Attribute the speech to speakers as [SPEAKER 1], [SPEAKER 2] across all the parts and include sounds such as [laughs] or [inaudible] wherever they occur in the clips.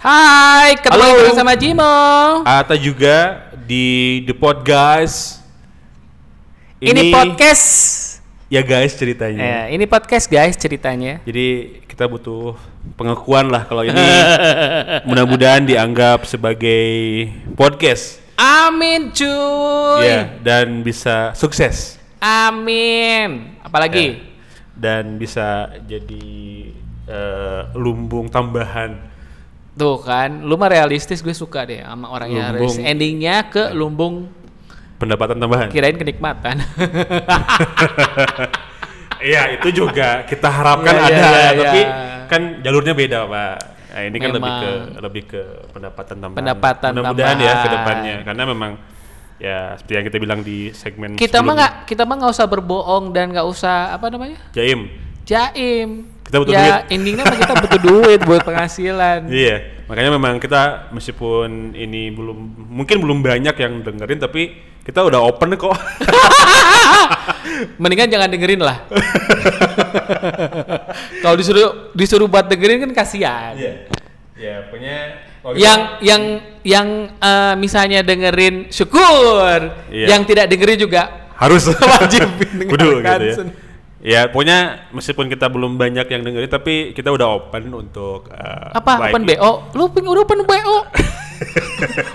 [SPEAKER 1] Hai, ketemu
[SPEAKER 2] Halo. Ah,
[SPEAKER 1] lagi sama Jimo.
[SPEAKER 2] atau juga di The Pod Guys.
[SPEAKER 1] Ini, podcast.
[SPEAKER 2] ya guys ceritanya.
[SPEAKER 1] Eh, ini podcast guys ceritanya.
[SPEAKER 2] Jadi kita butuh pengakuan lah kalau ini [laughs] mudah-mudahan dianggap sebagai podcast.
[SPEAKER 1] Amin cuy.
[SPEAKER 2] Ya, dan bisa sukses
[SPEAKER 1] Amin. Apalagi?
[SPEAKER 2] Iya. dan bisa jadi eh, lumbung tambahan.
[SPEAKER 1] Tuh kan, lu mah realistis gue suka deh sama orang yang
[SPEAKER 2] Lumbung. Iya.
[SPEAKER 1] realistis. Endingnya ke lumbung
[SPEAKER 2] Pendapatan tambahan.
[SPEAKER 1] kirain kan? Ah,
[SPEAKER 2] [laughs]
[SPEAKER 1] kenikmatan.
[SPEAKER 2] Iya, itu juga kita harapkan
[SPEAKER 1] Iya,
[SPEAKER 2] ada,
[SPEAKER 1] iya, iya,
[SPEAKER 2] tapi
[SPEAKER 1] iya.
[SPEAKER 2] kan jalurnya beda, Pak. Nah, ini kan lebih
[SPEAKER 1] Memang.
[SPEAKER 2] ke lebih ke pendapatan tambahan.
[SPEAKER 1] Pendapatan
[SPEAKER 2] Mudah-mudahan ya
[SPEAKER 1] tambahan.
[SPEAKER 2] ke depannya karena memang ya seperti yang kita bilang di segmen
[SPEAKER 1] kita mah
[SPEAKER 2] sebelumnya.
[SPEAKER 1] nggak kita mah nggak usah berbohong dan nggak usah apa namanya?
[SPEAKER 2] jaim.
[SPEAKER 1] Jaim.
[SPEAKER 2] Kita butuh
[SPEAKER 1] ya,
[SPEAKER 2] duit.
[SPEAKER 1] endingnya mah kita butuh duit buat penghasilan.
[SPEAKER 2] Iya, makanya memang kita meskipun ini belum mungkin belum banyak yang dengerin tapi kita udah open kok.
[SPEAKER 1] Mendingan jangan dengerin
[SPEAKER 2] [laughs]
[SPEAKER 1] lah. Kalau disuruh disuruh buat dengerin kan kasihan.
[SPEAKER 2] Iya. Ya, punya
[SPEAKER 1] Yang yang yang eh, misalnya dengerin syukur,
[SPEAKER 2] Iya.
[SPEAKER 1] yang tidak dengerin juga
[SPEAKER 2] [laughs] harus
[SPEAKER 1] Wajib
[SPEAKER 2] kudu
[SPEAKER 1] mendengarkan
[SPEAKER 2] gitu ya.
[SPEAKER 1] sen-
[SPEAKER 2] Ya, pokoknya meskipun kita belum banyak yang dengerin tapi kita udah open untuk uh,
[SPEAKER 1] apa
[SPEAKER 2] baik-
[SPEAKER 1] open BO? Lu ping udah open
[SPEAKER 2] [laughs]
[SPEAKER 1] BO.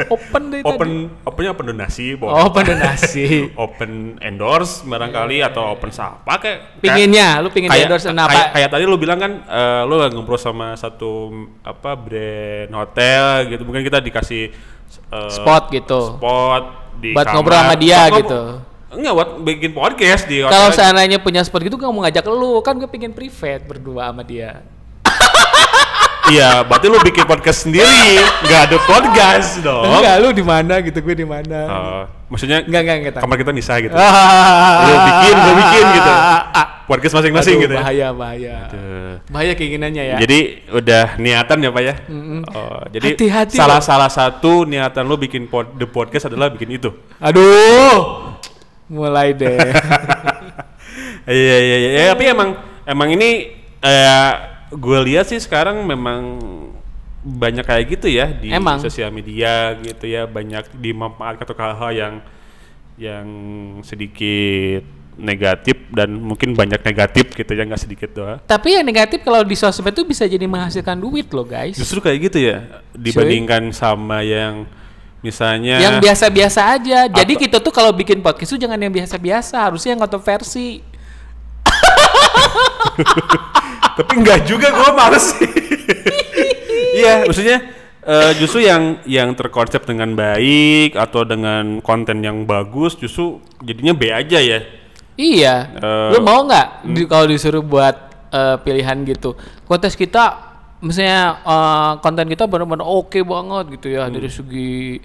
[SPEAKER 1] open deh
[SPEAKER 2] Open
[SPEAKER 1] tadi.
[SPEAKER 2] opennya open donasi, boleh.
[SPEAKER 1] Oh, open
[SPEAKER 2] [laughs]
[SPEAKER 1] donasi.
[SPEAKER 2] open endorse barangkali atau open apa kayak
[SPEAKER 1] Pinginnya, lu pingin
[SPEAKER 2] kayak,
[SPEAKER 1] endorse
[SPEAKER 2] kayak,
[SPEAKER 1] apa?
[SPEAKER 2] kayak, kayak tadi lu bilang kan eh, lu lagi ngobrol sama satu apa brand hotel gitu mungkin kita dikasih eh,
[SPEAKER 1] Spot gitu.
[SPEAKER 2] spot di
[SPEAKER 1] Buat
[SPEAKER 2] kamar.
[SPEAKER 1] ngobrol sama dia
[SPEAKER 2] Buat ngob-
[SPEAKER 1] gitu.
[SPEAKER 2] enggak buat bikin podcast di
[SPEAKER 1] Kalau
[SPEAKER 2] hotel.
[SPEAKER 1] seandainya punya spot gitu gak mau ngajak lu, kan gue pingin private berdua sama dia.
[SPEAKER 2] Iya, berarti lu bikin podcast sendiri, nggak ada podcast dong.
[SPEAKER 1] Enggak, lu di mana gitu, gue di mana.
[SPEAKER 2] Eh, maksudnya
[SPEAKER 1] Enggak, enggak, enggak.
[SPEAKER 2] kamar kita bisa gitu.
[SPEAKER 1] Ah.
[SPEAKER 2] Lu bikin, gua bikin gitu. Podcast masing-masing
[SPEAKER 1] Aduh,
[SPEAKER 2] gitu. ya.
[SPEAKER 1] Bahaya, bahaya.
[SPEAKER 2] Aduh.
[SPEAKER 1] Bahaya keinginannya ya.
[SPEAKER 2] Jadi udah niatan ya Pak ya. Oh, jadi
[SPEAKER 1] Hati-hati
[SPEAKER 2] salah
[SPEAKER 1] loh.
[SPEAKER 2] salah satu niatan lu bikin pod- the podcast adalah bikin itu.
[SPEAKER 1] Aduh. Mulai deh.
[SPEAKER 2] [laughs] Iya iya iya. Ya, Tapi emang emang ini eh gue lihat sih sekarang memang banyak kayak gitu ya di
[SPEAKER 1] Emang.
[SPEAKER 2] sosial media gitu ya banyak dimanfaatkan untuk hal-hal yang yang sedikit negatif dan mungkin banyak negatif gitu ya nggak sedikit doang.
[SPEAKER 1] Tapi yang negatif kalau di sosmed tuh bisa jadi menghasilkan duit loh, guys.
[SPEAKER 2] Justru kayak gitu ya dibandingkan sama yang misalnya
[SPEAKER 1] Yang biasa-biasa aja. Jadi
[SPEAKER 2] Atau-
[SPEAKER 1] kita tuh kalau bikin podcast tuh jangan yang biasa-biasa, harusnya yang kontroversi.
[SPEAKER 2] tapi enggak juga gue males sih [laughs] iya maksudnya eh, justru yang yang terkonsep dengan baik atau dengan konten yang bagus justru jadinya B aja ya
[SPEAKER 1] Iya.
[SPEAKER 2] Eh,
[SPEAKER 1] Lu mau nggak di- kalau disuruh buat eh, pilihan gitu? Kontes kita misalnya eh, konten kita benar-benar oke banget gitu ya dari
[SPEAKER 2] Hmm.
[SPEAKER 1] segi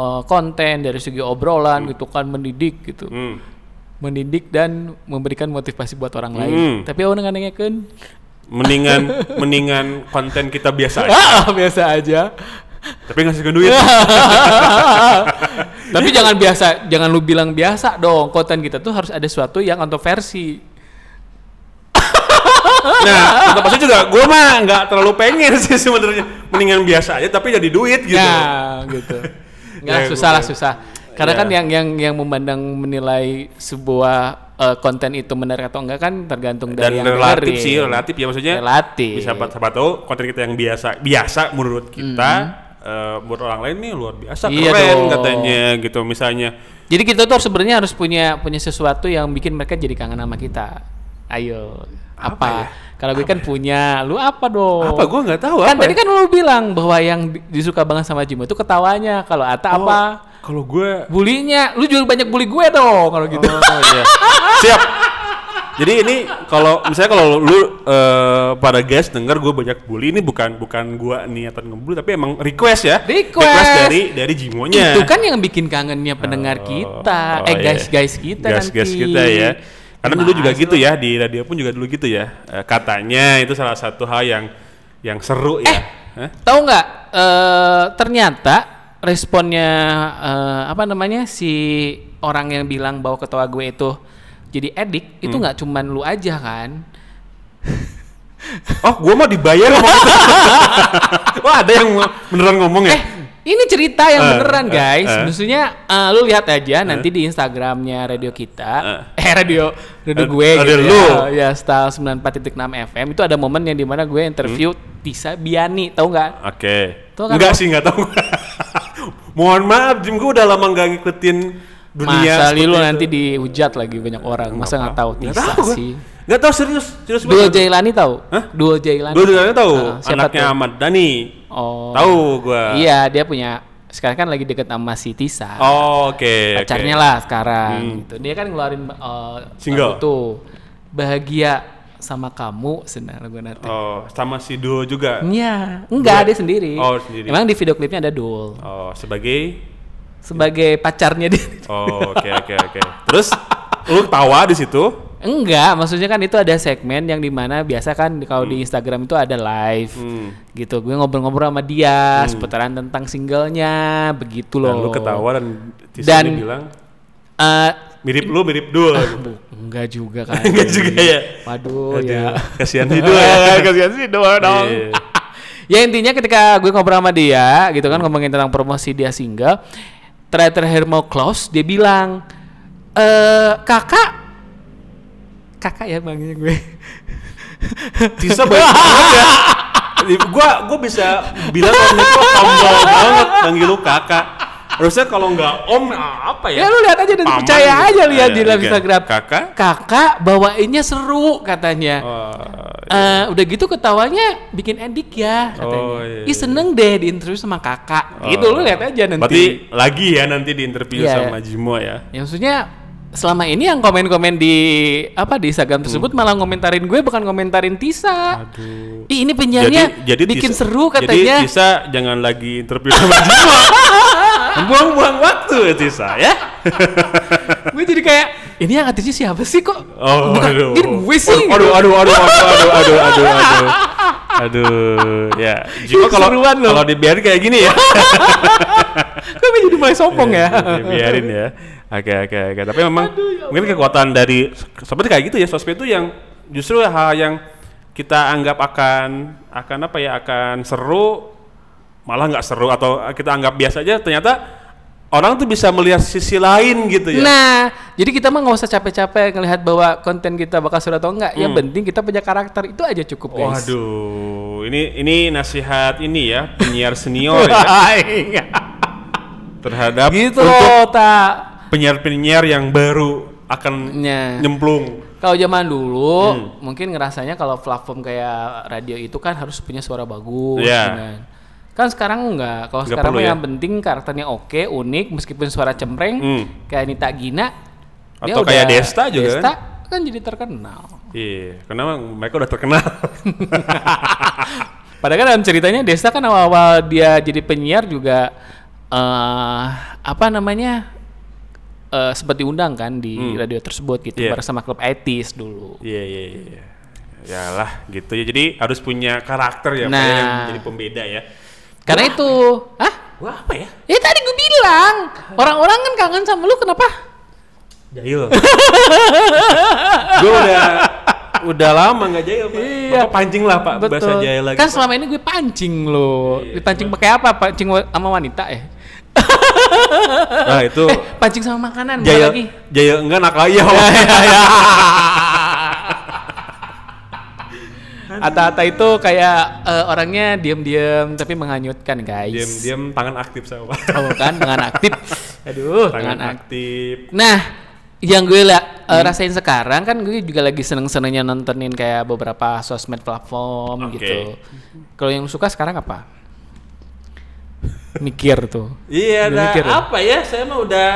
[SPEAKER 1] eh, konten, dari segi obrolan gitu kan mendidik gitu.
[SPEAKER 2] hmm.
[SPEAKER 1] Mendidik dan memberikan motivasi buat orang lain.
[SPEAKER 2] Hmm.
[SPEAKER 1] Tapi orang nanya kan
[SPEAKER 2] mendingan [laughs] mendingan konten kita biasa aja,
[SPEAKER 1] [laughs] ah, biasa
[SPEAKER 2] [laughs]
[SPEAKER 1] aja.
[SPEAKER 2] tapi ngasih [laughs] duit
[SPEAKER 1] Tapi jangan biasa, jangan lu bilang biasa dong. Konten kita tuh harus ada sesuatu yang kontroversi.
[SPEAKER 2] nah tetap aja juga gue mah nggak terlalu pengen sih sebenarnya mendingan biasa aja tapi jadi duit gitu
[SPEAKER 1] Ya,
[SPEAKER 2] [laughs]
[SPEAKER 1] gitu. Nggak
[SPEAKER 2] Ya,
[SPEAKER 1] susah lah
[SPEAKER 2] gua-
[SPEAKER 1] susah. Karena
[SPEAKER 2] Ya.
[SPEAKER 1] kan yang yang yang memandang menilai sebuah eh, konten itu menarik atau enggak kan tergantung
[SPEAKER 2] dan
[SPEAKER 1] dari yang
[SPEAKER 2] relatif
[SPEAKER 1] dengerin.
[SPEAKER 2] sih relatif ya maksudnya
[SPEAKER 1] Relatif.
[SPEAKER 2] bisa siapa siapa tahu konten kita yang biasa biasa menurut kita eh, buat orang lain nih luar biasa
[SPEAKER 1] Mm-hmm. Iya
[SPEAKER 2] keren
[SPEAKER 1] dong.
[SPEAKER 2] katanya gitu misalnya
[SPEAKER 1] Jadi kita tuh sebenarnya harus punya punya sesuatu yang bikin mereka jadi kangen sama kita. Ayo, apa?
[SPEAKER 2] Apa ya?
[SPEAKER 1] Kalau gue kan punya, lu apa dong?
[SPEAKER 2] apa gue nggak tahu
[SPEAKER 1] kan
[SPEAKER 2] apa ya.
[SPEAKER 1] tadi kan lu bilang bahwa yang di- disuka banget sama Jimo itu ketawanya. Kalau Ata
[SPEAKER 2] Oh.
[SPEAKER 1] apa?
[SPEAKER 2] kalau gue
[SPEAKER 1] Bulinya. Lu juga banyak bully gue dong kalau gitu.
[SPEAKER 2] Oh,
[SPEAKER 1] [laughs]
[SPEAKER 2] iya.
[SPEAKER 1] Ah!
[SPEAKER 2] siap jadi ini kalau misalnya kalau lu eh, para guys denger gue banyak bully ini bukan bukan gue niatan ngebully tapi emang request ya
[SPEAKER 1] Request.
[SPEAKER 2] dari dari jimonya
[SPEAKER 1] Itu kan yang bikin kangennya pendengar kita.
[SPEAKER 2] Iya. Oh,
[SPEAKER 1] eh
[SPEAKER 2] iya.
[SPEAKER 1] guys-guys kita nanti.
[SPEAKER 2] Guys-guys kita ya. Karena dulu juga gitu ya di radio pun juga dulu gitu ya. Eh, katanya itu salah satu hal yang yang
[SPEAKER 1] Eh.
[SPEAKER 2] seru ya. Hah?
[SPEAKER 1] Tahu nggak? eh, ternyata responnya eh, apa namanya si orang yang bilang bahwa
[SPEAKER 2] Hmm. [laughs]
[SPEAKER 1] ketua gue itu jadi edik itu nggak cuman lu aja kan?
[SPEAKER 2] Oh, gua mah dibayar sama
[SPEAKER 1] [laughs]
[SPEAKER 2] kita. Wah, ada yang beneran ngomong ya?
[SPEAKER 1] Eh, ini cerita yang
[SPEAKER 2] Eh,
[SPEAKER 1] beneran
[SPEAKER 2] eh,
[SPEAKER 1] guys.
[SPEAKER 2] eh.
[SPEAKER 1] Maksudnya eh, lu lihat aja nanti di Instagramnya radio kita, eh radio radio
[SPEAKER 2] Eh,
[SPEAKER 1] gue
[SPEAKER 2] radio
[SPEAKER 1] gitu
[SPEAKER 2] lu.
[SPEAKER 1] ya, ya style 94.6 FM itu ada momen yang dimana gue interview
[SPEAKER 2] Hmm.
[SPEAKER 1] Tisa Biani, tahu nggak?
[SPEAKER 2] Oke.
[SPEAKER 1] Tuh kan,
[SPEAKER 2] Enggak
[SPEAKER 1] Bang.
[SPEAKER 2] sih, enggak tahu. [laughs] Mohon maaf, Jim, gua udah lama nggak ngikutin dunia.
[SPEAKER 1] Masa
[SPEAKER 2] seperti
[SPEAKER 1] lu
[SPEAKER 2] itu.
[SPEAKER 1] nanti dihujat lagi banyak orang, masa nggak tahu
[SPEAKER 2] Nggak
[SPEAKER 1] Tisa
[SPEAKER 2] tahu gua.
[SPEAKER 1] sih?
[SPEAKER 2] Nggak tahu serius, serius
[SPEAKER 1] Duo
[SPEAKER 2] banget.
[SPEAKER 1] Jailani tahu?
[SPEAKER 2] Hah?
[SPEAKER 1] Duo Jailani.
[SPEAKER 2] Dua jailani tahu.
[SPEAKER 1] Ah, siapa
[SPEAKER 2] Anaknya
[SPEAKER 1] tuh?
[SPEAKER 2] Ahmad Dhani.
[SPEAKER 1] Oh.
[SPEAKER 2] Tahu gua.
[SPEAKER 1] Iya, dia punya sekarang kan lagi deket sama si Tisa.
[SPEAKER 2] Oh, oke. oke. Hmm.
[SPEAKER 1] pacarnya lah sekarang gitu. Dia kan ngeluarin uh,
[SPEAKER 2] Single.
[SPEAKER 1] lagu tuh bahagia sama kamu senang lagu nanti.
[SPEAKER 2] Oh, sama si Duo juga.
[SPEAKER 1] Iya, enggak dia sendiri.
[SPEAKER 2] Oh, sendiri.
[SPEAKER 1] Emang di video klipnya ada Dul
[SPEAKER 2] Oh, sebagai
[SPEAKER 1] sebagai pacarnya dia.
[SPEAKER 2] Oh, oke oke oke. Terus lu tawa di situ?
[SPEAKER 1] [laughs] Enggak, maksudnya kan itu ada segmen yang dimana biasa kan di- kalau di Instagram itu ada live
[SPEAKER 2] Hmm.
[SPEAKER 1] gitu. Gue ngobrol-ngobrol sama dia seputaran tentang singlenya begitu
[SPEAKER 2] Dan
[SPEAKER 1] loh.
[SPEAKER 2] lu ketawa dan Tisa
[SPEAKER 1] Dan-
[SPEAKER 2] bilang
[SPEAKER 1] Eh,
[SPEAKER 2] mirip lu mirip
[SPEAKER 1] [laughs]
[SPEAKER 2] Dul.
[SPEAKER 1] bu- enggak juga kan.
[SPEAKER 2] [laughs] Enggak juga ya.
[SPEAKER 1] Waduh
[SPEAKER 2] Aduh,
[SPEAKER 1] ya.
[SPEAKER 2] Kasihan
[SPEAKER 1] [laughs]
[SPEAKER 2] si Dul. ya.
[SPEAKER 1] kasihan sih doa
[SPEAKER 2] Iya.
[SPEAKER 1] ya intinya ketika gue ngobrol sama dia gitu kan
[SPEAKER 2] Hmm.
[SPEAKER 1] ngomongin tentang promosi dia single terakhir Hermo Klaus dia bilang eh kakak kakak ya manggilnya gue [laughs]
[SPEAKER 2] Tisa baik banget ya. Di- Gua gua bisa bilang kalau ini tuh tombol banget manggil lu kakak. Harusnya kalau nggak om apa ya?
[SPEAKER 1] ya lu lihat aja dan
[SPEAKER 2] Paman
[SPEAKER 1] percaya
[SPEAKER 2] gitu.
[SPEAKER 1] aja lihat di
[SPEAKER 2] Ah, iya,
[SPEAKER 1] dalam
[SPEAKER 2] oke.
[SPEAKER 1] Instagram
[SPEAKER 2] Kakak?
[SPEAKER 1] kakak bawainnya seru katanya
[SPEAKER 2] Oh,
[SPEAKER 1] Eh, udah gitu ketawanya bikin edik ya katanya.
[SPEAKER 2] Oh, iya, Oh.
[SPEAKER 1] Ih seneng deh diinterview sama kakak. Gitu lu lihat aja nanti.
[SPEAKER 2] Berarti lagi ya nanti di interview
[SPEAKER 1] Iya.
[SPEAKER 2] sama Jimo ya.
[SPEAKER 1] Ya maksudnya selama ini yang komen-komen di apa di Instagram tersebut malah ngomentarin gue bukan ngomentarin Tisa.
[SPEAKER 2] Hmm. Aduh.
[SPEAKER 1] Ih, ini penyiarnya ya? bikin
[SPEAKER 2] Tisa-
[SPEAKER 1] seru
[SPEAKER 2] Jadi
[SPEAKER 1] katanya.
[SPEAKER 2] Tisa jangan lagi interview sama
[SPEAKER 1] [laughs]
[SPEAKER 2] Jimo. Buang-buang waktu ya Tisa ya.
[SPEAKER 1] gue jadi kayak ini yang artisnya siapa sih kok?
[SPEAKER 2] Oh,
[SPEAKER 1] bukan
[SPEAKER 2] aduh.
[SPEAKER 1] ini gue sih.
[SPEAKER 2] Aduh, aduh, aduh, aduh, aduh, aduh, aduh,
[SPEAKER 1] [laughs]
[SPEAKER 2] aduh. Aduh, ya. Jimo kalau
[SPEAKER 1] Seruan loh.
[SPEAKER 2] kalau dibiarin kayak gini ya.
[SPEAKER 1] Kok gue jadi mulai sombong
[SPEAKER 2] Iya,
[SPEAKER 1] ya?
[SPEAKER 2] Biarin ya. Oke oke oke. Tapi memang mungkin kekuatan dari seperti kayak gitu ya sosmed itu yang justru hal yang kita anggap akan akan apa ya akan seru malah nggak seru atau kita anggap biasa aja ternyata orang tuh bisa melihat sisi lain gitu ya.
[SPEAKER 1] Nah, jadi kita mah nggak usah capek-capek ngelihat bahwa konten kita bakal seru atau enggak. Yang penting kita punya karakter itu aja cukup guys.
[SPEAKER 2] Hmm. Waduh, ini ini nasihat ini ya penyiar
[SPEAKER 1] Iya. [laughs]
[SPEAKER 2] senior ya, terhadap
[SPEAKER 1] gitu
[SPEAKER 2] untuk
[SPEAKER 1] loh, tak.
[SPEAKER 2] penyiar-penyiar yang baru akan
[SPEAKER 1] Nya.
[SPEAKER 2] nyemplung.
[SPEAKER 1] Kalau zaman dulu
[SPEAKER 2] Hmm.
[SPEAKER 1] mungkin ngerasanya kalau platform kayak radio itu kan harus punya suara bagus
[SPEAKER 2] Iya.
[SPEAKER 1] dengan. Kan sekarang enggak. Kalau
[SPEAKER 2] Nggak
[SPEAKER 1] sekarang
[SPEAKER 2] perlu
[SPEAKER 1] mah
[SPEAKER 2] ya.
[SPEAKER 1] yang penting karakternya oke, unik meskipun suara cempreng
[SPEAKER 2] Hmm.
[SPEAKER 1] kayak Nita Gina
[SPEAKER 2] Atau kayak Desta juga kan?
[SPEAKER 1] Desta kan? jadi terkenal.
[SPEAKER 2] Iya, karena mereka udah terkenal.
[SPEAKER 1] [laughs] Padahal kan dalam ceritanya Desta kan awal-awal dia jadi penyiar juga eh apa namanya? eh seperti undang kan di radio tersebut gitu
[SPEAKER 2] Hmm. Iya.
[SPEAKER 1] bersama klub etis dulu.
[SPEAKER 2] Iya iya iya. Yalah gitu ya. Jadi harus punya karakter ya Pak,
[SPEAKER 1] Nah.
[SPEAKER 2] ya, yang jadi pembeda ya.
[SPEAKER 1] Karena itu, ah
[SPEAKER 2] Gua apa ya?
[SPEAKER 1] Ya tadi gue bilang, orang-orang kan kangen sama lu kenapa? [laughs]
[SPEAKER 2] Jahil. gua udah udah lama nggak jahil Pak.
[SPEAKER 1] Iya.
[SPEAKER 2] Bapak pancing lah Pak bahasa jahil lagi.
[SPEAKER 1] Kan
[SPEAKER 2] Pak.
[SPEAKER 1] selama ini gue pancing lo.
[SPEAKER 2] Iya,
[SPEAKER 1] Dipancing pakai apa? Pancing wa- sama wanita ya?
[SPEAKER 2] nah itu
[SPEAKER 1] Eh, pancing sama makanan apa
[SPEAKER 2] jahil
[SPEAKER 1] lagi. Iya,
[SPEAKER 2] jahil enggak nakal
[SPEAKER 1] [laughs]
[SPEAKER 2] ya.
[SPEAKER 1] Ata-ata itu kayak eh, orangnya diam-diam tapi menghanyutkan, guys.
[SPEAKER 2] Diam-diam tangan aktif sama Pak.
[SPEAKER 1] Oh, kan dengan aktif. Aduh,
[SPEAKER 2] Tangan
[SPEAKER 1] dengan aktif.
[SPEAKER 2] aktif. Hmm.
[SPEAKER 1] Nah, yang gue la- eh, rasain sekarang kan gue juga lagi seneng-senengnya nontonin kayak beberapa sosmed platform
[SPEAKER 2] Oke.
[SPEAKER 1] gitu. Kalau yang suka sekarang apa? Mikir tuh.
[SPEAKER 2] Iya,
[SPEAKER 1] Udah
[SPEAKER 2] dah.
[SPEAKER 1] mikir ya?
[SPEAKER 2] apa ya? Saya mah udah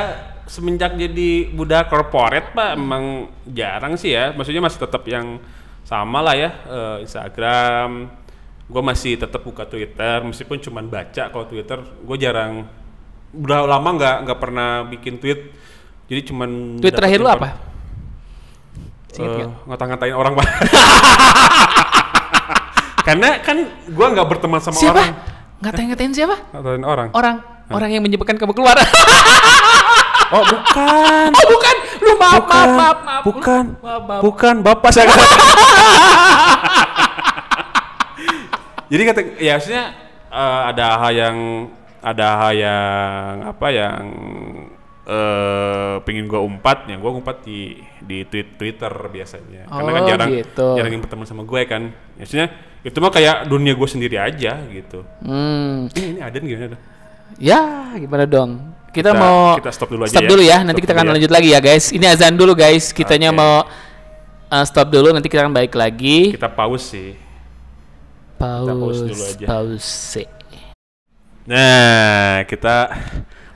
[SPEAKER 2] semenjak jadi budak corporate pak, emang jarang sih ya. Maksudnya masih tetap yang sama lah ya eh, Instagram. Gue masih tetap buka Twitter, meskipun cuman baca kalau Twitter. Gue jarang. Udah lama nggak nggak pernah bikin tweet. Jadi cuman
[SPEAKER 1] Tweet
[SPEAKER 2] dapet
[SPEAKER 1] terakhir lu
[SPEAKER 2] info-
[SPEAKER 1] apa? Ingat
[SPEAKER 2] eh,
[SPEAKER 1] nggak?
[SPEAKER 2] ngata-ngatain orang pak. [laughs] Karena kan gue nggak berteman sama
[SPEAKER 1] siapa? Oh.
[SPEAKER 2] orang.
[SPEAKER 1] Ngatain-ngatain siapa?
[SPEAKER 2] Ngatain orang.
[SPEAKER 1] Orang orang yang menyebabkan kamu keluar. [laughs]
[SPEAKER 2] Oh bukan.
[SPEAKER 1] oh, bukan. Lu maaf, maaf, maaf, maaf. Lu-
[SPEAKER 2] bukan,
[SPEAKER 1] [laughs] maaf, maaf.
[SPEAKER 2] bukan bapak saya. Jadi kata ya maksudnya eh, ada hal yang ada hal yang apa yang eh pingin gua umpat yang gua umpat di di tweet Twitter biasanya karena kan
[SPEAKER 1] Oh,
[SPEAKER 2] jarang
[SPEAKER 1] gitu.
[SPEAKER 2] jarang yang berteman sama gue kan maksudnya itu mah kayak dunia gue sendiri aja gitu
[SPEAKER 1] Hmm,
[SPEAKER 2] ini, ini ada nih gimana tuh?
[SPEAKER 1] ya gimana dong? Kita,
[SPEAKER 2] Kita-
[SPEAKER 1] mau
[SPEAKER 2] kita stop dulu aja ya.
[SPEAKER 1] Nanti
[SPEAKER 2] Stop
[SPEAKER 1] kita akan
[SPEAKER 2] dulu ya.
[SPEAKER 1] lanjut lagi ya guys. Ini azan dulu guys. Kitanya
[SPEAKER 2] Oke.
[SPEAKER 1] mau uh, stop dulu. Nanti kita akan balik lagi.
[SPEAKER 2] kita pause sih
[SPEAKER 1] Paus,
[SPEAKER 2] pause dulu aja.
[SPEAKER 1] pause.
[SPEAKER 2] nah kita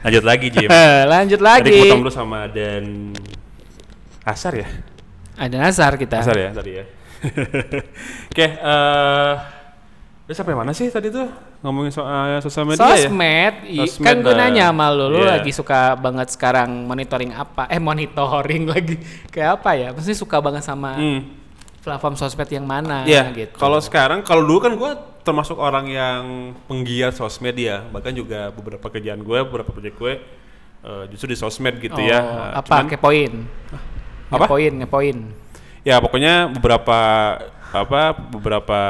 [SPEAKER 2] lanjut lagi Jim
[SPEAKER 1] Eh, lanjut
[SPEAKER 2] Iya. tadi
[SPEAKER 1] lagi.
[SPEAKER 2] potong dulu sama dan Asar ya
[SPEAKER 1] Ada nasar kita.
[SPEAKER 2] Asar ya tadi ya [laughs] oke eh udah sampai mana sih tadi tuh ngomongin soal sosial media ya
[SPEAKER 1] Sosmed, i-
[SPEAKER 2] Sosmed,
[SPEAKER 1] kan gue
[SPEAKER 2] eh,
[SPEAKER 1] nanya sama lo, lo
[SPEAKER 2] iya.
[SPEAKER 1] lagi suka banget sekarang monitoring apa? Eh monitoring [laughs] lagi kayak apa ya? Maksudnya suka banget sama
[SPEAKER 2] hmm.
[SPEAKER 1] platform sosmed yang mana
[SPEAKER 2] Iya,
[SPEAKER 1] gitu.
[SPEAKER 2] kalau sekarang kalau dulu kan gue termasuk orang yang penggiat sosmed ya, bahkan juga beberapa kerjaan gue, beberapa proyek gue eh, justru di sosmed gitu
[SPEAKER 1] Oh,
[SPEAKER 2] ya. Eh,
[SPEAKER 1] Apa
[SPEAKER 2] cuman-
[SPEAKER 1] kepoin?
[SPEAKER 2] Apa?
[SPEAKER 1] Ngepoin, ngepoin.
[SPEAKER 2] Ya pokoknya beberapa apa beberapa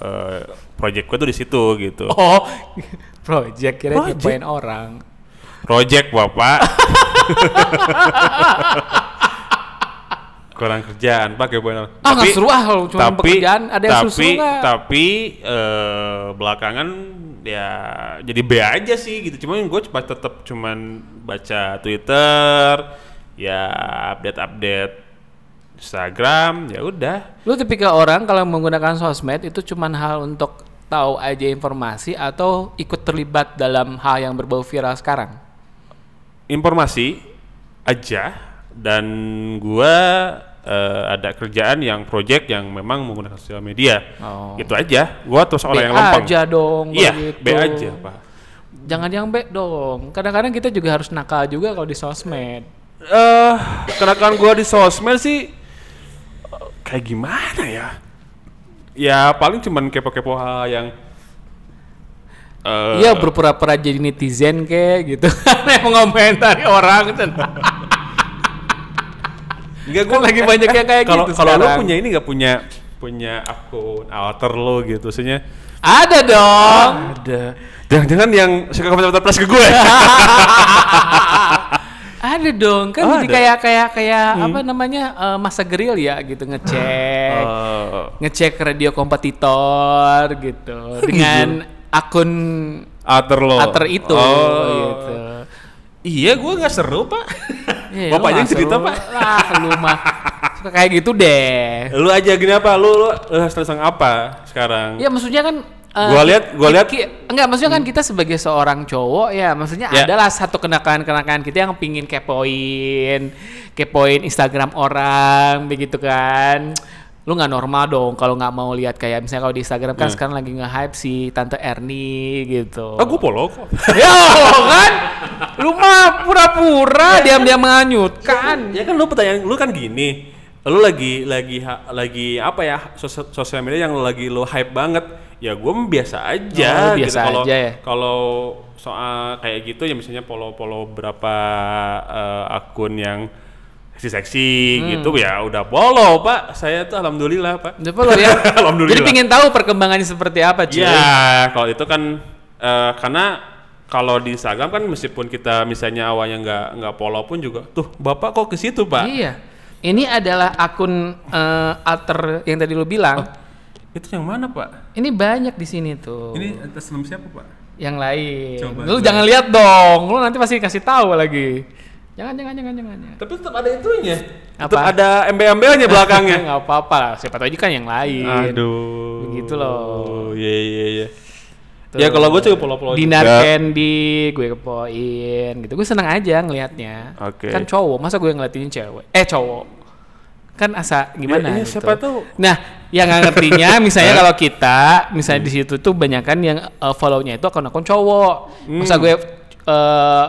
[SPEAKER 2] eh, project gue tuh di situ gitu.
[SPEAKER 1] [laughs] Oh, project kira
[SPEAKER 2] Project?
[SPEAKER 1] ngepoin orang.
[SPEAKER 2] Project bapak. kurang kerjaan pak kayak bener.
[SPEAKER 1] Ah, nggak seru ah kalau cuma pekerjaan, ada yang
[SPEAKER 2] tapi,
[SPEAKER 1] seru-seru nggak?
[SPEAKER 2] tapi eh, belakangan ya jadi B aja sih gitu cuman gue cuma tetap cuman baca Twitter ya update update Instagram ya udah
[SPEAKER 1] Lu tipikal orang kalau menggunakan sosmed itu cuman hal untuk tahu aja informasi atau ikut terlibat dalam hal yang berbau viral sekarang?
[SPEAKER 2] informasi aja dan gua eh, ada kerjaan yang project yang memang menggunakan sosial media
[SPEAKER 1] Oh.
[SPEAKER 2] itu aja gua terus
[SPEAKER 1] B
[SPEAKER 2] orang yang lempeng
[SPEAKER 1] aja dong gitu.
[SPEAKER 2] iya
[SPEAKER 1] begitu.
[SPEAKER 2] B aja pak
[SPEAKER 1] Jangan yang B dong. Kadang-kadang kita juga harus nakal juga kalau di sosmed.
[SPEAKER 2] eh kenakan gua di sosmed sih eh, kayak gimana ya ya paling cuman kepo-kepo hal yang eh,
[SPEAKER 1] Iya berpura-pura jadi netizen kayak gitu. [laughs] Yang mengomentari orang [laughs] tentang
[SPEAKER 2] Enggak
[SPEAKER 1] Kan lagi banyak yang kayak
[SPEAKER 2] [laughs] kalau,
[SPEAKER 1] gitu
[SPEAKER 2] Kalau lo
[SPEAKER 1] sekarang.
[SPEAKER 2] punya ini nggak punya punya akun alter lo gitu, maksudnya
[SPEAKER 1] Ada dong.
[SPEAKER 2] ada. Jangan-jangan yang suka komentar plus ke gue.
[SPEAKER 1] [laughs] ada dong kan jadi
[SPEAKER 2] Oh, ada. Hmm.
[SPEAKER 1] kayak kayak kayak apa namanya eh, masa gerilya gitu ngecek
[SPEAKER 2] Eh,
[SPEAKER 1] ngecek radio kompetitor
[SPEAKER 2] [laughs]
[SPEAKER 1] gitu dengan akun
[SPEAKER 2] alter lo.
[SPEAKER 1] alter itu
[SPEAKER 2] Oh.
[SPEAKER 1] gitu.
[SPEAKER 2] Iya, gue nggak seru pak.
[SPEAKER 1] Iya, lu
[SPEAKER 2] Bapaknya yang
[SPEAKER 1] masa
[SPEAKER 2] cerita
[SPEAKER 1] lu-
[SPEAKER 2] pak.
[SPEAKER 1] Ah, lu mah suka kayak gitu
[SPEAKER 2] [laughs]
[SPEAKER 1] deh.
[SPEAKER 2] Lu aja gini apa? Lu lu, lu stressang apa sekarang?
[SPEAKER 1] Ya maksudnya kan eh,
[SPEAKER 2] Hmm. Gua lihat- gua
[SPEAKER 1] ki-
[SPEAKER 2] lihat- Hmm.
[SPEAKER 1] ki- enggak maksudnya kan kita sebagai seorang cowok ya maksudnya
[SPEAKER 2] Ya.
[SPEAKER 1] adalah satu kenakalan-kenakalan kita yang pingin kepoin kepoin Instagram orang begitu kan lu nggak normal dong kalau nggak mau lihat kayak misalnya kalau di Instagram
[SPEAKER 2] Hmm.
[SPEAKER 1] kan sekarang lagi nge-hype si tante Erni gitu.
[SPEAKER 2] Ah, gue polo kok.
[SPEAKER 1] [laughs] ya kan lu mah pura-pura diam-diam
[SPEAKER 2] [laughs]
[SPEAKER 1] menganyutkan.
[SPEAKER 2] [clears throat] ya kan lu pertanyaan lu kan gini lu lagi lagi ha- lagi apa ya sos- sosial media yang lu lagi lu hype banget ya gue biasa
[SPEAKER 1] Oh,
[SPEAKER 2] aja gitu.
[SPEAKER 1] lu biasa
[SPEAKER 2] kalau
[SPEAKER 1] aja ya?
[SPEAKER 2] kalau soal kayak gitu ya misalnya polo-polo berapa eh, akun yang seksi-seksi
[SPEAKER 1] Hmm.
[SPEAKER 2] gitu ya udah polo pak saya tuh alhamdulillah pak
[SPEAKER 1] Udah follow ya. Jadi
[SPEAKER 2] [laughs] Alhamdulillah.
[SPEAKER 1] pingin tahu perkembangannya seperti apa cuy.
[SPEAKER 2] Iya, kalau itu kan eh, karena kalau di Instagram kan meskipun kita misalnya awalnya nggak nggak polo pun juga tuh bapak kok ke situ pak
[SPEAKER 1] Iya. Ini adalah akun eh, alter yang tadi lu bilang.
[SPEAKER 2] Oh. itu yang mana pak
[SPEAKER 1] Ini banyak di sini tuh.
[SPEAKER 2] atas nama siapa pak?
[SPEAKER 1] yang lain.
[SPEAKER 2] Coba
[SPEAKER 1] lu
[SPEAKER 2] gua-
[SPEAKER 1] jangan lihat dong. Lu nanti pasti kasih tahu lagi. Jangan jangan jangan jangan. jangan.
[SPEAKER 2] Tapi tetap ada itunya.
[SPEAKER 1] Apa?
[SPEAKER 2] Tetap ada embel-embelnya belakangnya.
[SPEAKER 1] [laughs] Nggak apa-apa lah. Siapa tahu aja kan yang lain.
[SPEAKER 2] Aduh.
[SPEAKER 1] Begitu loh.
[SPEAKER 2] Iya iya iya.
[SPEAKER 1] Tuh.
[SPEAKER 2] Ya kalau gue juga polo-polo
[SPEAKER 1] Dinar
[SPEAKER 2] juga.
[SPEAKER 1] candy, gue kepoin gitu. Gue seneng aja ngelihatnya.
[SPEAKER 2] Oke.
[SPEAKER 1] Kan cowok, masa gue ngeliatin cewek? Eh cowok. Kan asa gimana
[SPEAKER 2] iya,
[SPEAKER 1] gitu.
[SPEAKER 2] siapa Eh? tahu.
[SPEAKER 1] Nah, yang nggak
[SPEAKER 2] [laughs]
[SPEAKER 1] ngertinya misalnya kalau kita misalnya
[SPEAKER 2] Hmm.
[SPEAKER 1] di situ tuh banyak kan yang uh, follow-nya itu akun-akun cowok.
[SPEAKER 2] Hmm.
[SPEAKER 1] Masa gue uh,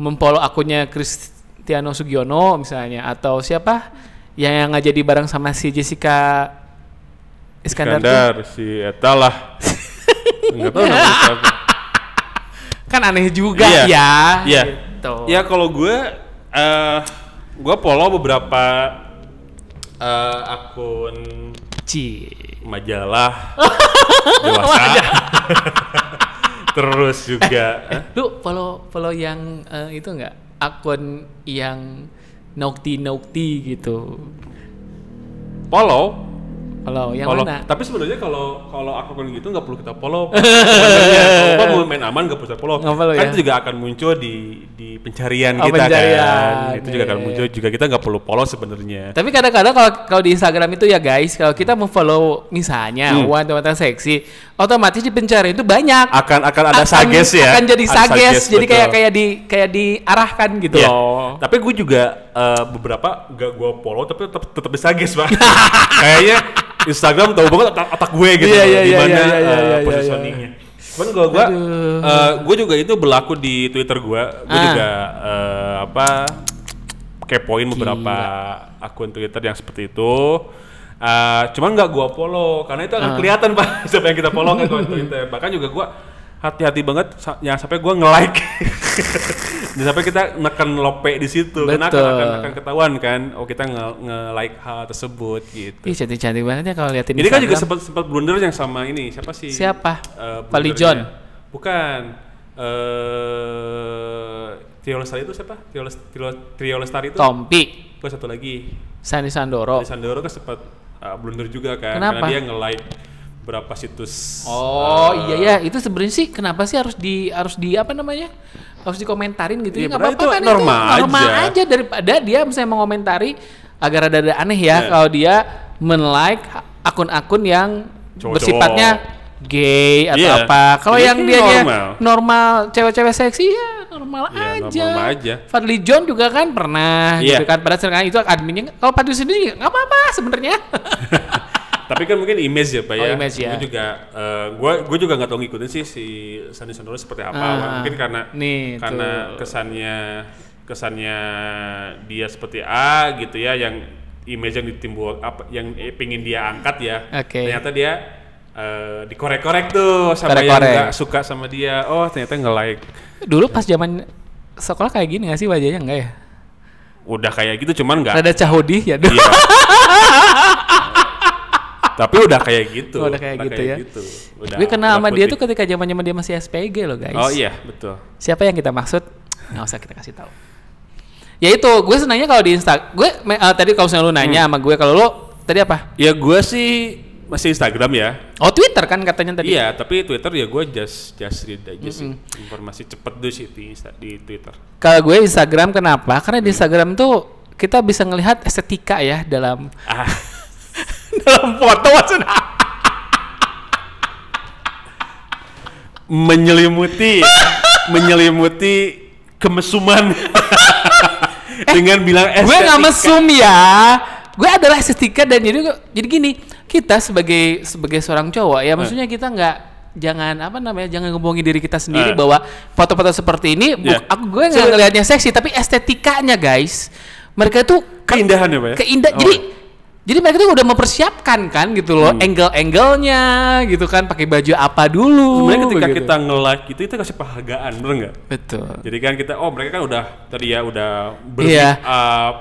[SPEAKER 1] memfollow akunnya Cristiano Sugiono misalnya atau siapa yang nggak jadi bareng sama si Jessica Iskandar, tuh.
[SPEAKER 2] Iskandar si Eta
[SPEAKER 1] [laughs]
[SPEAKER 2] lah. Enggak tahu namanya siapa.
[SPEAKER 1] kan aneh juga
[SPEAKER 2] Iya.
[SPEAKER 1] ya
[SPEAKER 2] Iya.
[SPEAKER 1] gitu.
[SPEAKER 2] Ya kalau gue eh gue polo beberapa eh, akun
[SPEAKER 1] Ci. [laughs]
[SPEAKER 2] majalah dewasa [laughs] terus juga eh,
[SPEAKER 1] Lu follow follow yang eh, itu nggak akun yang nokti nokti gitu.
[SPEAKER 2] follow
[SPEAKER 1] Follow yang
[SPEAKER 2] Follow.
[SPEAKER 1] mana?
[SPEAKER 2] Tapi sebenarnya kalau kalau akun gitu nggak perlu kita follow. Sebenarnya kalau apa mau main aman nggak perlu kita follow.
[SPEAKER 1] Nggak perlu
[SPEAKER 2] kan
[SPEAKER 1] ya?
[SPEAKER 2] itu juga akan muncul di di pencarian
[SPEAKER 1] Oh,
[SPEAKER 2] kita
[SPEAKER 1] pencarian.
[SPEAKER 2] kan. Itu juga akan
[SPEAKER 1] Iya,
[SPEAKER 2] muncul juga kita nggak perlu follow sebenarnya.
[SPEAKER 1] Tapi kadang-kadang kalau kalau di Instagram itu ya guys, kalau kita mau follow misalnya
[SPEAKER 2] Hmm.
[SPEAKER 1] wanita-wanita seksi, otomatis di pencarian itu banyak.
[SPEAKER 2] Akan akan ada
[SPEAKER 1] Akan-
[SPEAKER 2] sages ya.
[SPEAKER 1] Akan jadi
[SPEAKER 2] Ada
[SPEAKER 1] sages, jadi
[SPEAKER 2] betul.
[SPEAKER 1] kayak kayak di kayak diarahkan gitu
[SPEAKER 2] Iya.
[SPEAKER 1] loh.
[SPEAKER 2] Tapi gue juga eh, beberapa nggak gue follow tapi tetap tetap di sages pak. [laughs] Kayaknya Instagram tahu banget otak, otak gue gitu
[SPEAKER 1] Iya, iya, iya,
[SPEAKER 2] gimana
[SPEAKER 1] iya, iya,
[SPEAKER 2] eh,
[SPEAKER 1] iya, iya.
[SPEAKER 2] positioningnya. Cuman kalau gue,
[SPEAKER 1] Aduh.
[SPEAKER 2] gue Eh, juga itu berlaku di Twitter gue. Gue
[SPEAKER 1] Ah.
[SPEAKER 2] juga eh, apa kepoin beberapa akun Twitter yang seperti itu. Eh, cuman nggak gua follow karena itu
[SPEAKER 1] Ah.
[SPEAKER 2] akan kelihatan pak [laughs] siapa yang kita follow kan kalau di Twitter. Bahkan juga gua hati-hati banget sa- yang sampai gua nge-like. [laughs] Jangan sampai kita neken lope di situ. Karena akan,
[SPEAKER 1] Betul.
[SPEAKER 2] akan, akan ketahuan kan oh kita nge- nge-like hal tersebut gitu.
[SPEAKER 1] Ih, cantik-cantik banget ya kalau liatin
[SPEAKER 2] Ini kan juga
[SPEAKER 1] Instagram.
[SPEAKER 2] sempat sempat blunder yang sama ini. Siapa sih?
[SPEAKER 1] Siapa?
[SPEAKER 2] Eh,
[SPEAKER 1] Pali
[SPEAKER 2] blundernya?
[SPEAKER 1] John.
[SPEAKER 2] Bukan. Eh Trio Lestari itu siapa? Trio, Les- Trio- Trio Lestari itu.
[SPEAKER 1] Tompi,
[SPEAKER 2] Gua satu lagi.
[SPEAKER 1] Sani Sandoro.
[SPEAKER 2] Di Sandoro kan sempat eh, blunder juga
[SPEAKER 1] Oh.
[SPEAKER 2] kan.
[SPEAKER 1] Kenapa?
[SPEAKER 2] Karena dia nge-like berapa situs.
[SPEAKER 1] Oh iya
[SPEAKER 2] eh,
[SPEAKER 1] ya, itu sebenarnya sih kenapa sih harus di harus di apa namanya? Harus dikomentarin gitu
[SPEAKER 2] Iya,
[SPEAKER 1] ya nggak
[SPEAKER 2] padahal
[SPEAKER 1] apa-apa
[SPEAKER 2] itu
[SPEAKER 1] kan
[SPEAKER 2] normal
[SPEAKER 1] itu normal
[SPEAKER 2] aja.
[SPEAKER 1] aja. daripada dia misalnya mengomentari agar ada ada aneh ya
[SPEAKER 2] Iya.
[SPEAKER 1] kalau dia men-like akun-akun yang
[SPEAKER 2] Cowok-cowok.
[SPEAKER 1] bersifatnya gay atau
[SPEAKER 2] Iya.
[SPEAKER 1] apa. Kalau
[SPEAKER 2] Jadi
[SPEAKER 1] yang
[SPEAKER 2] itu
[SPEAKER 1] dia
[SPEAKER 2] normal.
[SPEAKER 1] normal, cewek-cewek seksi ya normal
[SPEAKER 2] Iya,
[SPEAKER 1] aja.
[SPEAKER 2] normal aja.
[SPEAKER 1] Fadli John juga kan pernah
[SPEAKER 2] Iya.
[SPEAKER 1] gitu kan padahal sekarang itu adminnya kalau Fadli sendiri nggak apa-apa sebenarnya. [laughs]
[SPEAKER 2] Tapi kan mungkin image ya, Pak
[SPEAKER 1] Oh,
[SPEAKER 2] ya.
[SPEAKER 1] image ya.
[SPEAKER 2] Gue juga eh, gua gua juga nggak tahu ngikutin sih si Sandi Sandoro seperti apa.
[SPEAKER 1] Ah,
[SPEAKER 2] Wah, mungkin karena
[SPEAKER 1] nih,
[SPEAKER 2] karena
[SPEAKER 1] tuh.
[SPEAKER 2] kesannya kesannya dia seperti A gitu ya yang image yang ditimbul apa yang eh, pingin dia angkat ya.
[SPEAKER 1] Oke.
[SPEAKER 2] Ternyata dia eh, dikorek-korek tuh sama
[SPEAKER 1] Korek-korek.
[SPEAKER 2] yang nggak suka sama dia. Oh, ternyata nge-like.
[SPEAKER 1] Dulu pas zaman sekolah kayak gini nggak sih wajahnya enggak ya?
[SPEAKER 2] Udah kayak gitu cuman nggak
[SPEAKER 1] Rada cahudi ya dulu. [laughs]
[SPEAKER 2] Iya. Tapi udah kayak gitu.
[SPEAKER 1] Oh, udah kayak gitu ya.
[SPEAKER 2] Udah,
[SPEAKER 1] Gue kenal
[SPEAKER 2] udah
[SPEAKER 1] sama dia
[SPEAKER 2] putih.
[SPEAKER 1] tuh ketika zaman zaman dia masih SPG loh guys.
[SPEAKER 2] Oh iya, betul.
[SPEAKER 1] Siapa yang kita maksud? Nggak usah kita kasih tahu. Ya itu, gue senangnya kalau di Insta, gue me- eh, tadi kalau misalnya lu
[SPEAKER 2] Hmm.
[SPEAKER 1] nanya sama gue kalau lu tadi apa?
[SPEAKER 2] Ya gue sih masih Instagram ya.
[SPEAKER 1] Oh Twitter kan katanya tadi.
[SPEAKER 2] Iya, tapi Twitter ya gue just just read aja sih. Informasi cepet dulu sih di, Insta- di Twitter.
[SPEAKER 1] Kalau gue Instagram kenapa? Karena di
[SPEAKER 2] Hmm.
[SPEAKER 1] Instagram tuh kita bisa ngelihat estetika ya
[SPEAKER 2] [laughs]
[SPEAKER 1] dalam
[SPEAKER 2] Ah,
[SPEAKER 1] dalam foto maksudnya. [laughs]
[SPEAKER 2] menyelimuti menyelimuti kemesuman
[SPEAKER 1] Eh,
[SPEAKER 2] dengan bilang
[SPEAKER 1] gue
[SPEAKER 2] estetika.
[SPEAKER 1] nggak mesum ya gue adalah estetika dan jadi gua- jadi gini kita sebagai sebagai seorang cowok
[SPEAKER 2] Eh.
[SPEAKER 1] ya maksudnya kita nggak jangan apa namanya jangan ngebohongin diri kita sendiri
[SPEAKER 2] Eh.
[SPEAKER 1] bahwa foto-foto seperti ini bu-
[SPEAKER 2] Iya.
[SPEAKER 1] aku gue nggak
[SPEAKER 2] So-
[SPEAKER 1] ngelihatnya seksi tapi estetikanya guys mereka tuh ke-
[SPEAKER 2] keindahan ya, Pak ya?
[SPEAKER 1] keindah
[SPEAKER 2] Oh. Hmm.
[SPEAKER 1] jadi jadi mereka tuh udah mempersiapkan kan gitu loh angle-angle-nya gitu kan pakai baju apa dulu
[SPEAKER 2] sebenarnya ketika
[SPEAKER 1] begitu.
[SPEAKER 2] kita nge-like itu kita kasih penghargaan, bener nggak?
[SPEAKER 1] betul
[SPEAKER 2] Jadi kan kita oh mereka kan udah tadi ya udah
[SPEAKER 1] Iya.
[SPEAKER 2] bersiap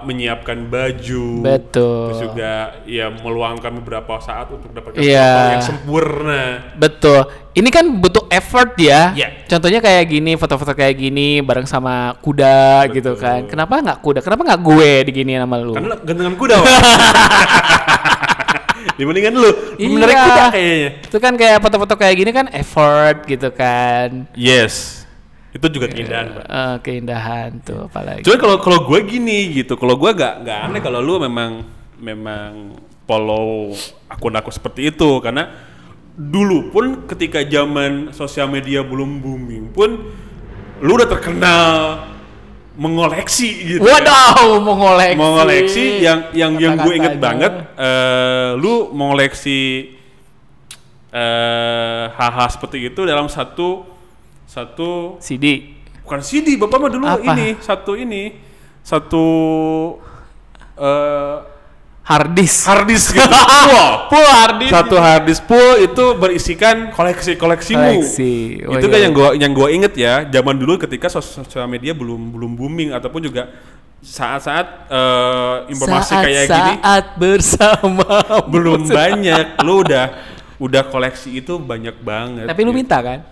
[SPEAKER 2] menyiapkan baju.
[SPEAKER 1] Betul.
[SPEAKER 2] Terus juga ya meluangkan beberapa saat untuk mendapatkan
[SPEAKER 1] Iya.
[SPEAKER 2] foto yang sempurna.
[SPEAKER 1] Betul. Ini kan butuh effort ya.
[SPEAKER 2] Iya.
[SPEAKER 1] Contohnya kayak gini, foto-foto kayak gini bareng sama kuda
[SPEAKER 2] Betul.
[SPEAKER 1] gitu kan. Kenapa nggak kuda? Kenapa nggak gue diginiin sama lu?
[SPEAKER 2] Karena gantengan kuda.
[SPEAKER 1] [laughs]
[SPEAKER 2] Wak. Dibandingkan lu, lu menarik
[SPEAKER 1] Iya.
[SPEAKER 2] kuda kayaknya.
[SPEAKER 1] Itu kan kayak foto-foto kayak gini kan effort gitu kan.
[SPEAKER 2] Yes. Itu juga keindahan, Pak.
[SPEAKER 1] Eh, keindahan tuh apalagi.
[SPEAKER 2] Cuma kalau kalau gue gini gitu, kalau gue gak nggak aneh kalau lu memang memang follow akun aku seperti itu karena dulu pun ketika zaman sosial media belum booming pun lu udah terkenal mengoleksi gitu. ya.
[SPEAKER 1] Waduh, mau ngoleksi.
[SPEAKER 2] Mengoleksi yang yang yang gue inget
[SPEAKER 1] Kata-katanya.
[SPEAKER 2] banget eh, lu mengoleksi eh hal-hal seperti itu dalam satu satu
[SPEAKER 1] CD.
[SPEAKER 2] Bukan CD, bapak mah dulu
[SPEAKER 1] Apa?
[SPEAKER 2] ini satu ini satu eh
[SPEAKER 1] Hardis.
[SPEAKER 2] harddisk
[SPEAKER 1] [laughs]
[SPEAKER 2] gitu. Wah,
[SPEAKER 1] Full hardis.
[SPEAKER 2] satu harddisk full itu berisikan koleksi koleksimu.
[SPEAKER 1] Koleksi. Oh, iya,
[SPEAKER 2] itu kan
[SPEAKER 1] iya.
[SPEAKER 2] yang gua yang gua inget ya, zaman dulu ketika sos- sosial media belum belum booming ataupun juga saat-saat eh, informasi
[SPEAKER 1] saat,
[SPEAKER 2] kayak
[SPEAKER 1] saat
[SPEAKER 2] gini
[SPEAKER 1] bersama
[SPEAKER 2] belum banyak lu udah udah koleksi itu banyak banget
[SPEAKER 1] tapi lu minta kan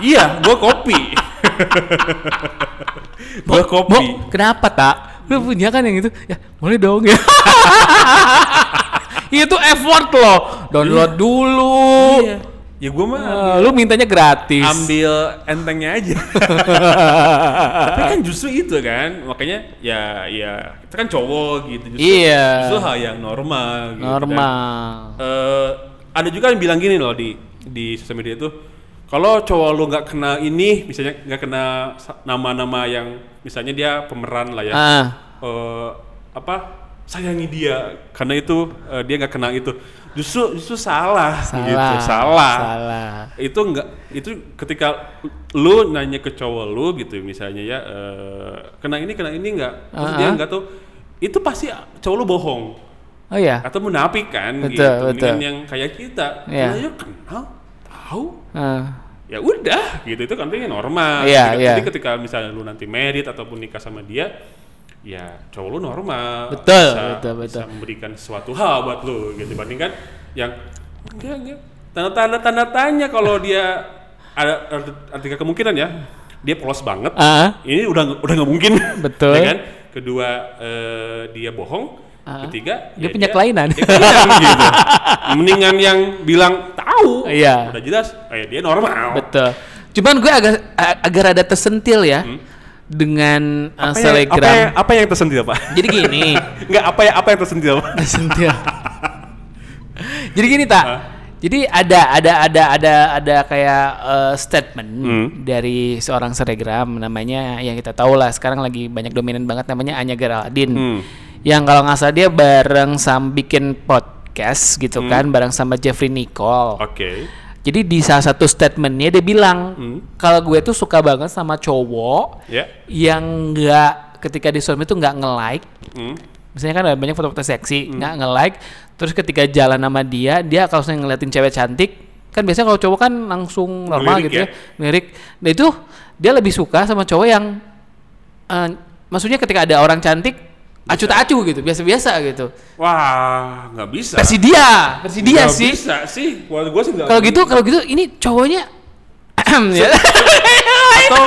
[SPEAKER 2] iya gua kopi [laughs] gua kopi
[SPEAKER 1] Mo, kenapa tak lu punya kan yang itu ya boleh dong [laughs] ya itu effort loh download dulu
[SPEAKER 2] iya. ya gua mah
[SPEAKER 1] Eh, lu mintanya gratis
[SPEAKER 2] ambil entengnya [laughs] aja tapi kan justru itu kan makanya ya ya kita kan cowok gitu justru,
[SPEAKER 1] Iya.
[SPEAKER 2] justru hal yang normal gitu kan.
[SPEAKER 1] normal
[SPEAKER 2] eh ada juga yang bilang gini loh di di sosial media tuh kalau cowok lu nggak kenal ini misalnya nggak kenal sa- nama-nama yang misalnya dia pemeran lah ya
[SPEAKER 1] ah
[SPEAKER 2] eh, apa sayangi dia karena itu eh, dia nggak kenal itu justru justru salah,
[SPEAKER 1] salah
[SPEAKER 2] gitu salah,
[SPEAKER 1] salah
[SPEAKER 2] itu nggak itu ketika lu nanya ke cowok lu gitu misalnya ya eh, kena ini kena ini nggak terus dia
[SPEAKER 1] Ah-ah.
[SPEAKER 2] nggak tuh itu pasti cowok lu bohong
[SPEAKER 1] oh iya
[SPEAKER 2] atau munafik kan
[SPEAKER 1] Betul,
[SPEAKER 2] gitu Mendingan
[SPEAKER 1] betul.
[SPEAKER 2] yang kayak kita
[SPEAKER 1] Iya.
[SPEAKER 2] Nah, ya kenal tahu
[SPEAKER 1] Ah.
[SPEAKER 2] ya udah gitu itu kan kayaknya normal
[SPEAKER 1] Iya,
[SPEAKER 2] Gitu.
[SPEAKER 1] iya.
[SPEAKER 2] jadi ketika misalnya lu nanti merit ataupun nikah sama dia ya cowok lu normal
[SPEAKER 1] Betul, betul, betul.
[SPEAKER 2] bisa memberikan suatu hal buat lu gitu dibandingkan yang enggak enggak tanda tanda tanda tanya kalau dia ada ada ada tiga kemungkinan ya dia polos banget
[SPEAKER 1] Ah.
[SPEAKER 2] ini udah udah nggak mungkin
[SPEAKER 1] Betul.
[SPEAKER 2] [laughs] ya kan kedua eh, dia bohong
[SPEAKER 1] Ah.
[SPEAKER 2] ketiga
[SPEAKER 1] Dia
[SPEAKER 2] ya
[SPEAKER 1] punya kelainan.
[SPEAKER 2] dia kelainan
[SPEAKER 1] [laughs]
[SPEAKER 2] gitu. mendingan yang bilang tahu
[SPEAKER 1] Iya.
[SPEAKER 2] udah jelas kayak dia normal
[SPEAKER 1] Betul. Cuman gue agak a- agak rada tersentil ya dengan uh,
[SPEAKER 2] Hmm. Apa yang- apa ya?
[SPEAKER 1] selegram.
[SPEAKER 2] yang, apa yang tersentil pak
[SPEAKER 1] Jadi gini,
[SPEAKER 2] nggak apa yang apa yang tersentil pak
[SPEAKER 1] tersentil. [laughs] Jadi gini tak.
[SPEAKER 2] Hah?
[SPEAKER 1] Jadi ada ada ada ada ada kayak uh, statement
[SPEAKER 2] Hmm.
[SPEAKER 1] dari seorang selegram namanya yang kita tahu lah sekarang lagi banyak dominan banget namanya Anya Geraldine.
[SPEAKER 2] Hmm.
[SPEAKER 1] Yang kalau nggak salah dia bareng sama bikin podcast gitu
[SPEAKER 2] Hmm.
[SPEAKER 1] kan bareng sama Jeffrey Nicole.
[SPEAKER 2] oke
[SPEAKER 1] Jadi di salah satu statementnya dia bilang
[SPEAKER 2] Hmm.
[SPEAKER 1] kalau gue tuh suka banget sama cowok
[SPEAKER 2] ya
[SPEAKER 1] yang nggak ketika di sosmed tuh nggak nge like.
[SPEAKER 2] Hmm.
[SPEAKER 1] Misalnya kan ada banyak foto-foto seksi nggak nge like. Terus ketika jalan sama dia, dia kalau misalnya ngeliatin cewek cantik, kan biasanya kalau cowok kan langsung normal
[SPEAKER 2] Ngelirik
[SPEAKER 1] gitu
[SPEAKER 2] ya.
[SPEAKER 1] ya, ngelirik. Nah itu dia lebih suka sama cowok yang, eh, maksudnya ketika ada orang cantik, acu tak acu gitu, biasa-biasa gitu.
[SPEAKER 2] wah nggak bisa
[SPEAKER 1] Versi dia, versi dia
[SPEAKER 2] Nggak
[SPEAKER 1] sih.
[SPEAKER 2] bisa sih Wah, gua sih nggak
[SPEAKER 1] Kalau gitu, kalau gitu ini cowoknya [clears throat] ya.
[SPEAKER 2] atau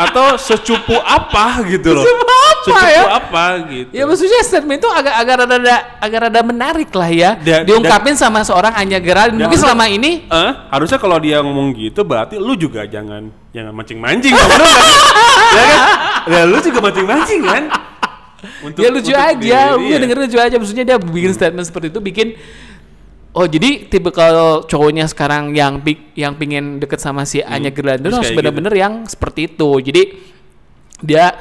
[SPEAKER 2] atau secupu apa gitu loh
[SPEAKER 1] Secupu apa
[SPEAKER 2] secupu
[SPEAKER 1] ya?
[SPEAKER 2] apa gitu
[SPEAKER 1] ya maksudnya statement itu agak agak rada agak rada menarik lah ya.
[SPEAKER 2] Dan-
[SPEAKER 1] Diungkapin sama seorang Anya Geraldine.
[SPEAKER 2] dan-
[SPEAKER 1] Mungkin selama ini
[SPEAKER 2] Eh, harusnya kalau dia ngomong gitu berarti lu juga jangan jangan mancing-mancing sama lu
[SPEAKER 1] [laughs]
[SPEAKER 2] kan. ya kan? Ya lu juga mancing-mancing kan? Untuk-
[SPEAKER 1] ya lucu
[SPEAKER 2] untuk
[SPEAKER 1] aja.
[SPEAKER 2] diri
[SPEAKER 1] Gue
[SPEAKER 2] dia.
[SPEAKER 1] denger lucu aja maksudnya dia bikin statement seperti itu bikin Oh jadi tipe kalau cowoknya sekarang yang pi- yang pingin deket sama si Anya Geraldine
[SPEAKER 2] Hmm, terus
[SPEAKER 1] harus
[SPEAKER 2] kayak gitu.
[SPEAKER 1] bener-bener yang seperti itu. Jadi dia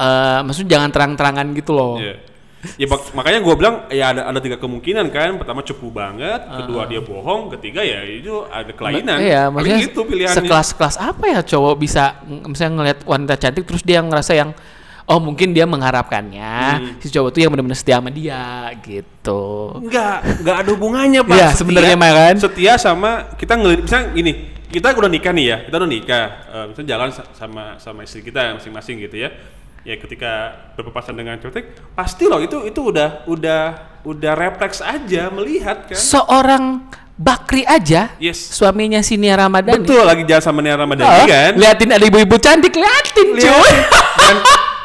[SPEAKER 1] eh maksudnya jangan terang-terangan gitu loh.
[SPEAKER 2] Iya. Ya bak- makanya gue bilang ya ada ada tiga kemungkinan kan. Pertama cepu banget, kedua dia bohong, ketiga ya itu ada kelainan.
[SPEAKER 1] Ah. Iya,
[SPEAKER 2] Paling
[SPEAKER 1] maksudnya
[SPEAKER 2] itu pilihannya.
[SPEAKER 1] sekelas-kelas apa ya cowok bisa ng- misalnya ngelihat wanita cantik terus dia ngerasa yang oh mungkin dia mengharapkannya
[SPEAKER 2] Hmm.
[SPEAKER 1] si cowok tuh yang benar-benar setia sama dia gitu.
[SPEAKER 2] Enggak, enggak ada hubungannya, Pak.
[SPEAKER 1] Iya,
[SPEAKER 2] Setia-
[SPEAKER 1] sebenarnya mah kan.
[SPEAKER 2] Setia sama kita ngelirik misalnya gini, kita udah nikah nih ya, kita udah nikah, eh, misalnya jalan sa- sama sama istri kita masing-masing gitu ya. Ya ketika berpapasan dengan cantik, pasti loh itu itu udah udah udah refleks aja melihat kan.
[SPEAKER 1] Seorang Bakri aja,
[SPEAKER 2] Yes.
[SPEAKER 1] suaminya si Nia Ramadhani.
[SPEAKER 2] Betul lagi jalan sama Nia
[SPEAKER 1] Oh,
[SPEAKER 2] Ramadhani kan.
[SPEAKER 1] Liatin ada ibu-ibu cantik, liatin cuy.
[SPEAKER 2] Lihat. dan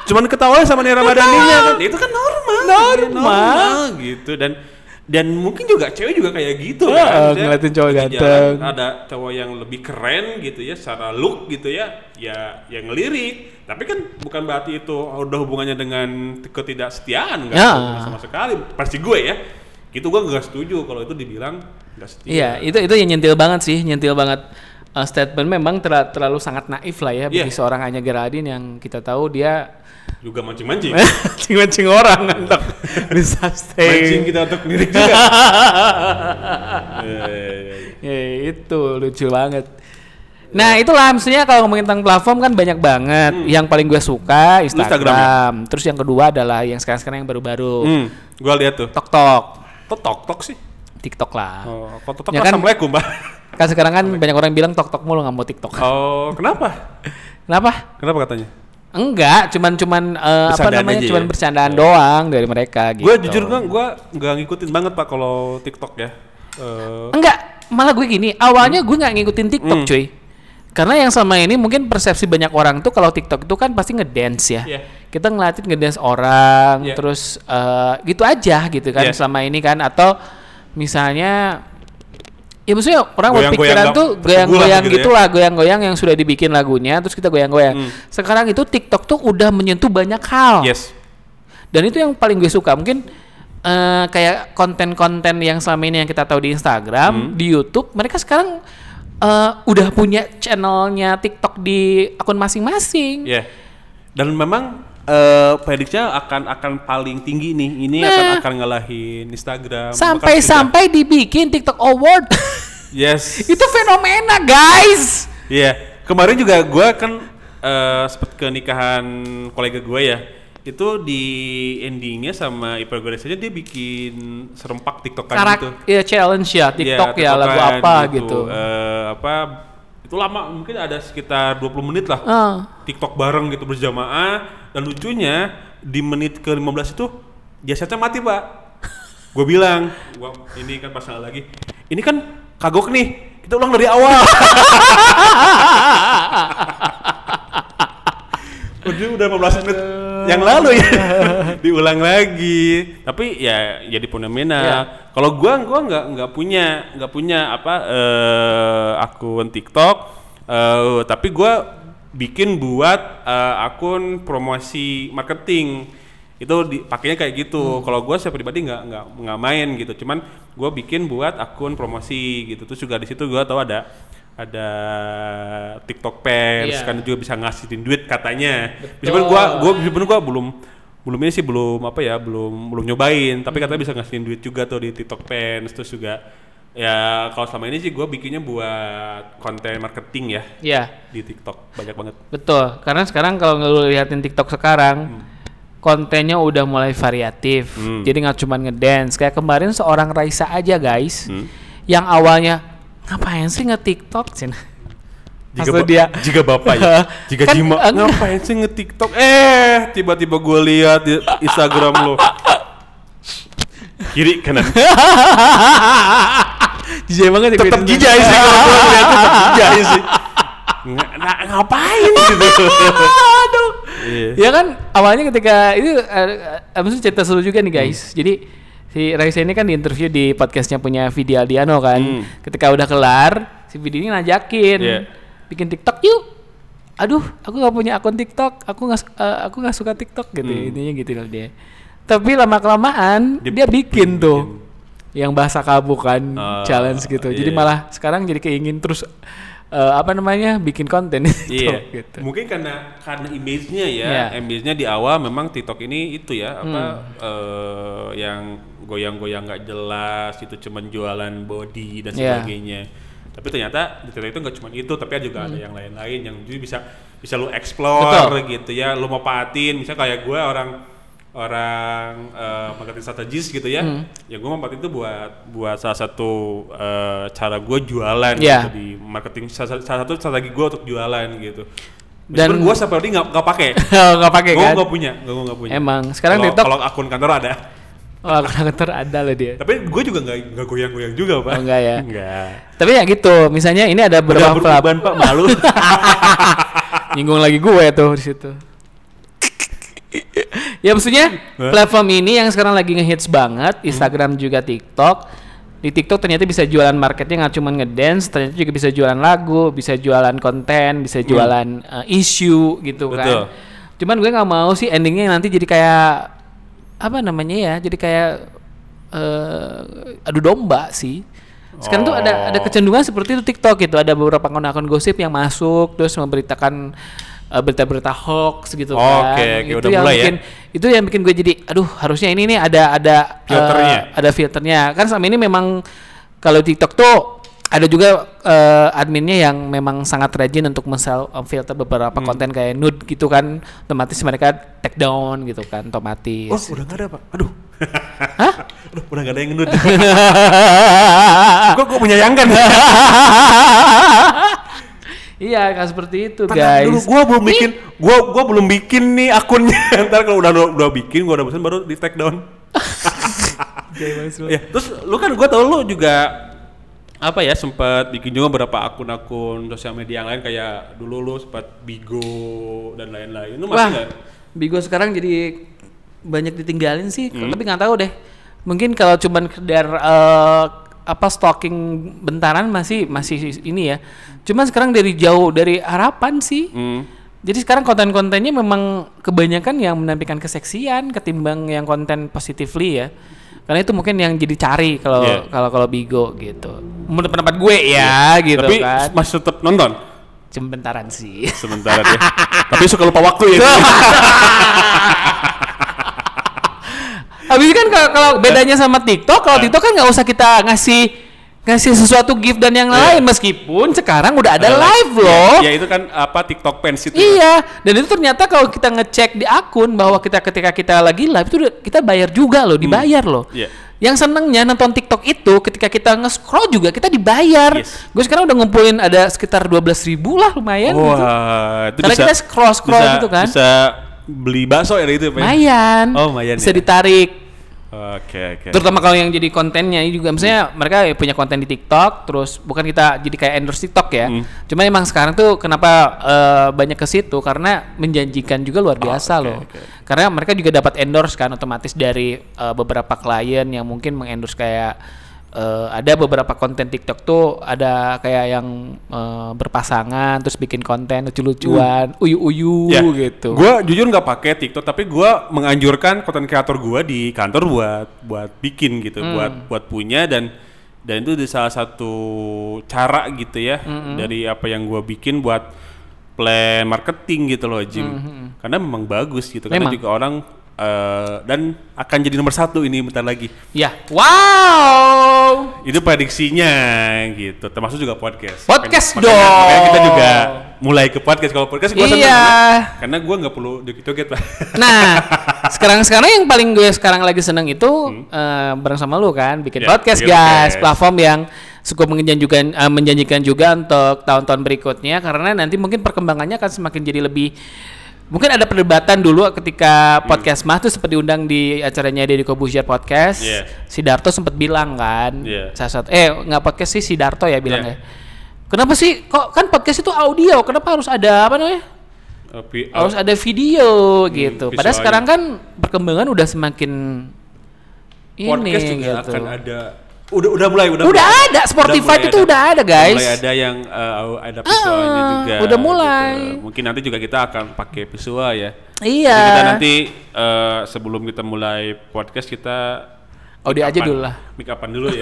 [SPEAKER 2] cuman ketawa sama Nia Ramadhaninya kan. Itu kan normal.
[SPEAKER 1] Normal.
[SPEAKER 2] gitu dan dan mungkin juga cewek juga kayak gitu
[SPEAKER 1] Heeh,
[SPEAKER 2] Maksudnya,
[SPEAKER 1] Iya, ngeliatin cowok
[SPEAKER 2] di jalan
[SPEAKER 1] ganteng.
[SPEAKER 2] Ada cowok yang lebih keren gitu ya secara look gitu ya. Ya yang ngelirik. Tapi kan bukan berarti itu udah hubungannya dengan ketidaksetiaan enggak
[SPEAKER 1] Ya.
[SPEAKER 2] sama sekali. Pasti gue ya. Gitu gue gak setuju kalau itu dibilang gak setia.
[SPEAKER 1] [laughs] Iya, itu itu yang nyentil banget sih, nyentil banget Uh, statement memang terla- terlalu sangat naif lah ya bagi
[SPEAKER 2] Iya.
[SPEAKER 1] seorang Anya Geraldine yang kita tahu
[SPEAKER 2] [laughs]
[SPEAKER 1] dia
[SPEAKER 2] Juga
[SPEAKER 1] [laughs]
[SPEAKER 2] mancing-mancing.
[SPEAKER 1] mancing-mancing orang untuk [laughs] bisa stay.
[SPEAKER 2] mancing kita untuk ngelirik Gitu juga. Iya, iya, iya.
[SPEAKER 1] [laughs] Ya, itu lucu banget. Nah itulah maksudnya kalau ngomongin tentang platform kan banyak banget. Yang paling gue suka Instagram.
[SPEAKER 2] Hmm. Instagram ya?
[SPEAKER 1] Terus yang kedua adalah yang sekarang-sekarang yang baru-baru
[SPEAKER 2] Hmm, gua lihat tuh.
[SPEAKER 1] TikTok,
[SPEAKER 2] Kok tok-tok sih?
[SPEAKER 1] TikTok lah.
[SPEAKER 2] Oh, kok tok-tok
[SPEAKER 1] Ya
[SPEAKER 2] kan
[SPEAKER 1] kan?
[SPEAKER 2] Assalamualaikum, Pak.
[SPEAKER 1] Kan sekarang kan banyak orang bilang TikTok mulu nggak mau TikTok.
[SPEAKER 2] Oh, kenapa?
[SPEAKER 1] Kenapa?
[SPEAKER 2] Kenapa katanya?
[SPEAKER 1] Enggak, cuman cuman eh, apa
[SPEAKER 2] Bercandaan
[SPEAKER 1] namanya?
[SPEAKER 2] aja
[SPEAKER 1] Cuman
[SPEAKER 2] ya?
[SPEAKER 1] bercandaan doang dari mereka gitu.
[SPEAKER 2] Gue jujur gue gue nggak ngikutin banget pak kalau TikTok ya. Eh,
[SPEAKER 1] Enggak, malah gue gini, awalnya
[SPEAKER 2] Hmm.
[SPEAKER 1] gue nggak ngikutin TikTok, cuy. Karena yang sama ini mungkin persepsi banyak orang tuh kalau TikTok itu kan pasti ngedance ya.
[SPEAKER 2] Iya.
[SPEAKER 1] Kita ngeliatin ngedance orang,
[SPEAKER 2] Iya.
[SPEAKER 1] terus eh, gitu aja gitu kan
[SPEAKER 2] Iya.
[SPEAKER 1] selama ini kan atau misalnya ya maksudnya orang
[SPEAKER 2] Goyang-goyang
[SPEAKER 1] berpikiran
[SPEAKER 2] nggak
[SPEAKER 1] tuh
[SPEAKER 2] tersegulang
[SPEAKER 1] goyang-goyang
[SPEAKER 2] gitu ya. Hmm.
[SPEAKER 1] gitu lah, goyang-goyang yang sudah dibikin lagunya terus kita goyang-goyang. Sekarang itu TikTok tuh udah menyentuh banyak hal
[SPEAKER 2] yes.
[SPEAKER 1] dan itu yang paling gue suka mungkin eh, kayak konten-konten yang selama ini yang kita tahu di Instagram
[SPEAKER 2] Hmm.
[SPEAKER 1] di YouTube mereka sekarang eh, udah punya channelnya TikTok di akun masing-masing
[SPEAKER 2] Ya. Dan memang eh prediksinya akan akan paling tinggi nih. Ini
[SPEAKER 1] Nah.
[SPEAKER 2] akan akan ngalahin Instagram. Bahkan sudah-
[SPEAKER 1] sampai-sampai dibikin TikTok
[SPEAKER 2] [laughs]
[SPEAKER 1] Award
[SPEAKER 2] Yes.
[SPEAKER 1] itu fenomena guys
[SPEAKER 2] Iya. Kemarin juga gua kan eh sempet ke nikahan kolega gue ya. Itu di endingnya sama ipar gue aja dia bikin serempak TikTokan
[SPEAKER 1] Karak,
[SPEAKER 2] gitu.
[SPEAKER 1] ya, challenge ya
[SPEAKER 2] Iya,
[SPEAKER 1] TikTok ya, lagu
[SPEAKER 2] TikTokan
[SPEAKER 1] apa gitu,
[SPEAKER 2] Eh, apa itu lama mungkin ada sekitar 20 menit lah.
[SPEAKER 1] Ah.
[SPEAKER 2] TikTok bareng gitu berjamaah dan lucunya di menit ke 15 itu jasadnya mati pak gue bilang gua, ini kan pasal lagi ini kan kagok nih kita ulang dari awal udah udah 15 menit yang lalu [laughs] ya diulang lagi tapi ya jadi fenomena
[SPEAKER 1] Ya.
[SPEAKER 2] kalau gua gua nggak nggak punya nggak punya apa eh, akun TikTok eh, tapi gua bikin buat eh, akun promosi marketing itu dipakainya kayak gitu kalau gua saya pribadi nggak nggak nggak main gitu cuman gua bikin buat akun promosi gitu terus juga di situ gua tahu ada ada TikTok pers
[SPEAKER 1] Iya.
[SPEAKER 2] kan juga bisa ngasihin duit katanya. Meskipun gua gua meskipun gua belum belum ini sih belum apa ya belum belum nyobain tapi katanya
[SPEAKER 1] Hmm.
[SPEAKER 2] bisa ngasihin duit juga tuh di TikTok Pens terus juga ya kalau selama ini sih gua bikinnya buat konten marketing ya
[SPEAKER 1] ya
[SPEAKER 2] di TikTok banyak banget
[SPEAKER 1] Betul, karena sekarang kalau lu liatin TikTok sekarang kontennya udah mulai variatif. Jadi nggak cuma ngedance. Kayak kemarin seorang Raisa aja guys, yang awalnya ngapain sih nge-TikTok Cina?
[SPEAKER 2] jika
[SPEAKER 1] Maksud
[SPEAKER 2] ba-
[SPEAKER 1] dia-
[SPEAKER 2] jika bapak ya jika
[SPEAKER 1] Kan,
[SPEAKER 2] jima
[SPEAKER 1] enggak.
[SPEAKER 2] ngapain sih nge TikTok eh tiba-tiba gua lihat di Instagram lo kiri [laughs] kanan
[SPEAKER 1] [laughs] Jijik banget ya.
[SPEAKER 2] tetap jijai sih kalau gue lihat tetap jijai Iya sih Nga- na- ngapain gitu
[SPEAKER 1] [laughs]
[SPEAKER 2] [laughs]
[SPEAKER 1] Aduh.
[SPEAKER 2] Iya.
[SPEAKER 1] Ya kan awalnya ketika itu eh, eh, maksudnya cerita seru juga nih guys.
[SPEAKER 2] Hmm.
[SPEAKER 1] Jadi si Raisa ini kan diinterview di podcastnya punya Vidi Aldiano kan.
[SPEAKER 2] Hmm.
[SPEAKER 1] Ketika udah kelar, si Vidi ini ngajakin
[SPEAKER 2] Iya.
[SPEAKER 1] bikin TikTok yuk. Aduh, aku nggak punya akun TikTok. Aku nggak su- eh, aku nggak suka TikTok gitu intinya gitu loh dia. Tapi lama kelamaan
[SPEAKER 2] Hmm.
[SPEAKER 1] dia
[SPEAKER 2] Dia
[SPEAKER 1] bikin tuh yang bahasa kabu kan
[SPEAKER 2] Ah,
[SPEAKER 1] challenge gitu. Jadi
[SPEAKER 2] iya.
[SPEAKER 1] malah sekarang jadi keingin terus eh, apa namanya bikin konten [laughs] itu
[SPEAKER 2] iya
[SPEAKER 1] gitu.
[SPEAKER 2] mungkin karena karena image-nya ya
[SPEAKER 1] Iya. Hmm.
[SPEAKER 2] image-nya di awal memang TikTok ini itu ya apa eh, yang goyang-goyang nggak jelas itu cuman jualan body dan
[SPEAKER 1] Iya.
[SPEAKER 2] sebagainya tapi ternyata di TikTok itu nggak cuma itu tapi ada juga ada yang lain-lain yang juga bisa bisa lu explore
[SPEAKER 1] Hmm. Betul.
[SPEAKER 2] gitu ya lu mau patin misalnya kayak gue orang orang eh, marketing strategis gitu ya
[SPEAKER 1] Hmm.
[SPEAKER 2] ya gue manfaatin itu buat buat salah satu eh, cara gue jualan
[SPEAKER 1] Iya.
[SPEAKER 2] gitu di marketing salah, salah satu strategi gue untuk jualan gitu
[SPEAKER 1] Dan-
[SPEAKER 2] dan gue sampai ini nggak nggak pakai
[SPEAKER 1] nggak [laughs] pakai
[SPEAKER 2] gue
[SPEAKER 1] kan?
[SPEAKER 2] nggak punya gue nggak punya
[SPEAKER 1] Emang, sekarang
[SPEAKER 2] Kalau-
[SPEAKER 1] TikTok-
[SPEAKER 2] kalau akun kantor ada
[SPEAKER 1] [laughs] Wah, karakter Oh, ada loh dia.
[SPEAKER 2] tapi gue juga nggak nggak goyang-goyang juga pak
[SPEAKER 1] Oh, nggak ya?
[SPEAKER 2] nggak
[SPEAKER 1] Tapi ya gitu, misalnya ini ada
[SPEAKER 2] udah
[SPEAKER 1] beberapa pelab-
[SPEAKER 2] berubah pak
[SPEAKER 1] [laughs]
[SPEAKER 2] malu
[SPEAKER 1] nyinggung lagi gue tuh di situ. ya maksudnya
[SPEAKER 2] Hah? Hmm.
[SPEAKER 1] platform ini yang sekarang lagi ngehits banget, Instagram juga TikTok. Di TikTok ternyata bisa jualan marketnya nggak cuma ngedance, ternyata juga bisa jualan lagu, bisa jualan konten, bisa jualan uh, issue gitu
[SPEAKER 2] Hmm. Betul.
[SPEAKER 1] kan. Cuman gue nggak mau sih endingnya nanti jadi kayak apa namanya ya, jadi kayak eh adu domba sih. Sekarang tuh ada ada
[SPEAKER 2] Oh.
[SPEAKER 1] kecenderungan seperti itu TikTok gitu. Ada beberapa akun-akun gosip yang masuk terus memberitakan eh, berita-berita hoax gitu kan.
[SPEAKER 2] Oke, oke,
[SPEAKER 1] itu
[SPEAKER 2] udah
[SPEAKER 1] yang
[SPEAKER 2] mulai ya.
[SPEAKER 1] bikin itu yang bikin gue jadi aduh harusnya ini nih ada ada eh,
[SPEAKER 2] Filternya.
[SPEAKER 1] ada filternya. Kan selama ini memang kalau TikTok tuh ada juga eh, adminnya yang memang sangat rajin untuk mensel eh, filter beberapa
[SPEAKER 2] Hmm.
[SPEAKER 1] konten kayak nude gitu kan otomatis mereka take down gitu kan otomatis. [laughs]
[SPEAKER 2] oh udah nggak ada pak aduh
[SPEAKER 1] Hah?
[SPEAKER 2] Aduh, udah nggak ada yang
[SPEAKER 1] [laughs]
[SPEAKER 2] ngendut kan? gue gue menyayangkan
[SPEAKER 1] Iya, kan seperti itu,
[SPEAKER 2] Tangan
[SPEAKER 1] guys.
[SPEAKER 2] Dulu gua belum bikin, gua gua belum bikin nih akunnya. [laughs] Ntar kalau udah udah bikin, gua udah bosan baru di take down. ya, terus lu kan gua tau lu juga apa ya sempat bikin juga beberapa akun-akun sosial media yang lain kayak dulu lu sempat Bigo dan lain-lain. Lu masih
[SPEAKER 1] Wah,
[SPEAKER 2] nggak?
[SPEAKER 1] Bigo sekarang jadi banyak ditinggalin sih,
[SPEAKER 2] Hmm.
[SPEAKER 1] tapi nggak tahu deh. Mungkin kalau cuman kedar eh, apa stalking bentaran masih masih ini ya. Cuman sekarang dari jauh dari harapan sih.
[SPEAKER 2] Hmm.
[SPEAKER 1] Jadi sekarang konten-kontennya memang kebanyakan yang menampilkan keseksian ketimbang yang konten positively ya. Karena itu mungkin yang jadi cari kalau
[SPEAKER 2] Iya.
[SPEAKER 1] kalau kalau Bigo gitu. Menurut pendapat gue ya gitu
[SPEAKER 2] Tapi
[SPEAKER 1] kan.
[SPEAKER 2] masih tetap nonton
[SPEAKER 1] Cuma bentaran sih.
[SPEAKER 2] sementara
[SPEAKER 1] [laughs]
[SPEAKER 2] ya. Tapi suka lupa waktu ya.
[SPEAKER 1] Habis itu kan kalau, kalau bedanya sama TikTok, kalau TikTok kan nggak usah kita ngasih ngasih sesuatu gift dan yang lain meskipun sekarang udah ada live loh.
[SPEAKER 2] Ya, Iya. itu kan apa TikTok fans itu.
[SPEAKER 1] Iya, dan itu ternyata kalau kita ngecek di akun bahwa kita ketika kita lagi live itu udah- kita bayar juga loh, dibayar loh.
[SPEAKER 2] Iya.
[SPEAKER 1] Yang senengnya nonton TikTok itu ketika kita nge-scroll juga kita dibayar.
[SPEAKER 2] Yes. Oh,
[SPEAKER 1] Gue sekarang udah ngumpulin ada sekitar 12 ribu lah lumayan gitu.
[SPEAKER 2] Wah, itu
[SPEAKER 1] Karena
[SPEAKER 2] bisa-
[SPEAKER 1] kita scroll-scroll
[SPEAKER 2] bisa-
[SPEAKER 1] gitu kan.
[SPEAKER 2] Bisa beli bakso ya itu Pak?
[SPEAKER 1] Lumayan.
[SPEAKER 2] Oh, lumayan
[SPEAKER 1] Bisa
[SPEAKER 2] ya.
[SPEAKER 1] ditarik.
[SPEAKER 2] Oke, oke. Hmm.
[SPEAKER 1] Terutama kalau yang jadi kontennya ini juga misalnya mereka ya punya konten di TikTok terus bukan kita jadi kayak endorse TikTok ya.
[SPEAKER 2] Hmm.
[SPEAKER 1] Cuma emang sekarang tuh kenapa eh, banyak ke situ karena menjanjikan juga luar biasa
[SPEAKER 2] Oh, oke,
[SPEAKER 1] loh.
[SPEAKER 2] oke.
[SPEAKER 1] Karena mereka juga dapat endorse kan otomatis dari eh, beberapa klien yang mungkin mengendorse kayak eh, ada beberapa konten TikTok tuh ada kayak yang eh, berpasangan terus bikin konten lucu-lucuan, uyu-uyu
[SPEAKER 2] Ya,
[SPEAKER 1] gitu.
[SPEAKER 2] Gua jujur nggak pakai TikTok, tapi gua menganjurkan konten kreator gua di kantor buat buat bikin gitu,
[SPEAKER 1] Hmm.
[SPEAKER 2] buat buat punya dan dan itu di salah satu cara gitu ya
[SPEAKER 1] Hmm.
[SPEAKER 2] dari apa yang gua bikin buat plan marketing gitu loh, Jim. Karena memang bagus gitu,
[SPEAKER 1] Hmm,
[SPEAKER 2] karena
[SPEAKER 1] Memang.
[SPEAKER 2] juga orang eh, dan akan jadi nomor satu ini bentar lagi.
[SPEAKER 1] Ya. Wow.
[SPEAKER 2] Itu prediksinya gitu, termasuk juga podcast.
[SPEAKER 1] Podcast
[SPEAKER 2] Makanya- makanya-
[SPEAKER 1] dong.
[SPEAKER 2] makanya kita juga mulai ke podcast kalau podcast gua seneng,
[SPEAKER 1] Iya.
[SPEAKER 2] karena- karena gua nggak perlu joget-joget lah. [laughs]
[SPEAKER 1] Nah, sekarang-sekarang yang paling gue sekarang lagi seneng itu eh, bareng sama lu kan bikin
[SPEAKER 2] Hmm. Ya,
[SPEAKER 1] podcast
[SPEAKER 2] bikin
[SPEAKER 1] guys,
[SPEAKER 2] podcast.
[SPEAKER 1] platform yang cukup menjanjikan eh, menjanjikan juga untuk tahun-tahun berikutnya karena nanti mungkin perkembangannya akan semakin jadi lebih mungkin ada perdebatan dulu ketika
[SPEAKER 2] Hmm.
[SPEAKER 1] podcast mah tuh seperti diundang di acaranya Deddy Kobusier podcast.
[SPEAKER 2] Iya.
[SPEAKER 1] Si Darto sempat bilang kan,
[SPEAKER 2] Iya.
[SPEAKER 1] salah satu eh nggak podcast sih si Darto ya bilang
[SPEAKER 2] Iya.
[SPEAKER 1] ya. Kenapa sih kok kan podcast itu audio, kenapa harus ada apa namanya?
[SPEAKER 2] Tapi
[SPEAKER 1] harus ada video
[SPEAKER 2] Hmm,
[SPEAKER 1] gitu. Padahal
[SPEAKER 2] visualnya.
[SPEAKER 1] sekarang kan perkembangan udah semakin ini
[SPEAKER 2] podcast juga
[SPEAKER 1] gitu.
[SPEAKER 2] akan ada udah udah mulai udah
[SPEAKER 1] Udah
[SPEAKER 2] mulai.
[SPEAKER 1] ada, Spotify
[SPEAKER 2] mulai
[SPEAKER 1] itu udah ada, guys.
[SPEAKER 2] mulai ada yang eh, ada visualnya
[SPEAKER 1] Ah,
[SPEAKER 2] juga
[SPEAKER 1] udah mulai.
[SPEAKER 2] gitu. mungkin nanti juga kita akan pakai visual ya
[SPEAKER 1] Iya.
[SPEAKER 2] Jadi kita nanti eh, sebelum kita mulai podcast kita
[SPEAKER 1] Audio Oh, aja dulu lah.
[SPEAKER 2] make upan dulu
[SPEAKER 1] [laughs]
[SPEAKER 2] ya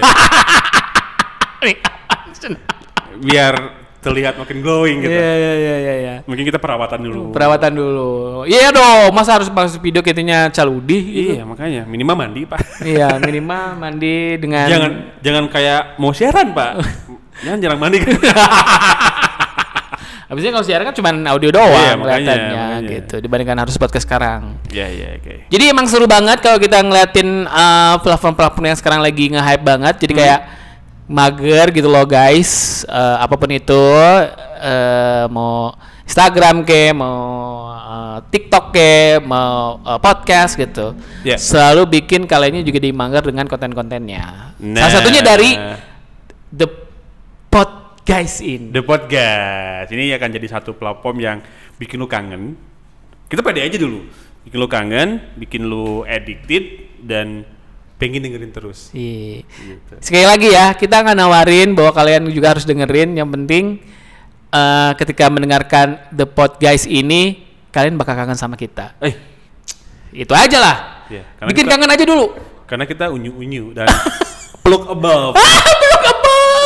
[SPEAKER 2] biar terlihat makin glowing gitu
[SPEAKER 1] Iya iya iya iya iya.
[SPEAKER 2] mungkin kita perawatan dulu
[SPEAKER 1] Perawatan dulu. Iya dong, masa harus masuk video kayaknya caludi gitu.
[SPEAKER 2] iya makanya minimal mandi pak
[SPEAKER 1] Iya, minimal mandi dengan
[SPEAKER 2] jangan jangan kayak mau siaran
[SPEAKER 1] [laughs]
[SPEAKER 2] pak jangan jarang mandi kan
[SPEAKER 1] Habisnya kalau siaran kan cuma audio doang
[SPEAKER 2] Iya, makanya,
[SPEAKER 1] kelihatannya
[SPEAKER 2] makanya.
[SPEAKER 1] gitu dibandingkan harus podcast sekarang.
[SPEAKER 2] ya ya oke
[SPEAKER 1] Jadi emang seru banget kalau kita ngeliatin uh, platform-platform yang sekarang lagi nge-hype banget.
[SPEAKER 2] Hmm.
[SPEAKER 1] Jadi kayak mager gitu loh guys. Eh, apapun itu eh, mau Instagram ke, mau eh, TikTok ke, mau eh, podcast gitu.
[SPEAKER 2] Ya.
[SPEAKER 1] Selalu bikin kaliannya juga dimager dengan konten-kontennya.
[SPEAKER 2] Nah.
[SPEAKER 1] Salah satunya dari The Pod Guys in.
[SPEAKER 2] The Podcast. Ini akan jadi satu platform yang bikin lu kangen. Kita pede aja dulu. Bikin lu kangen, bikin lu addicted dan pengen dengerin terus.
[SPEAKER 1] Iya.
[SPEAKER 2] Gitu.
[SPEAKER 1] Sekali lagi ya, kita nggak nawarin bahwa kalian juga harus dengerin. Yang penting eh, ketika mendengarkan The Pod Guys ini, kalian bakal kangen sama kita.
[SPEAKER 2] Eh,
[SPEAKER 1] Itu aja lah.
[SPEAKER 2] Iya, karena
[SPEAKER 1] Bikin
[SPEAKER 2] kita-
[SPEAKER 1] kangen aja dulu.
[SPEAKER 2] karena kita unyu-unyu dan [laughs] peluk above.
[SPEAKER 1] Ah, peluk
[SPEAKER 2] [laughs]
[SPEAKER 1] abal.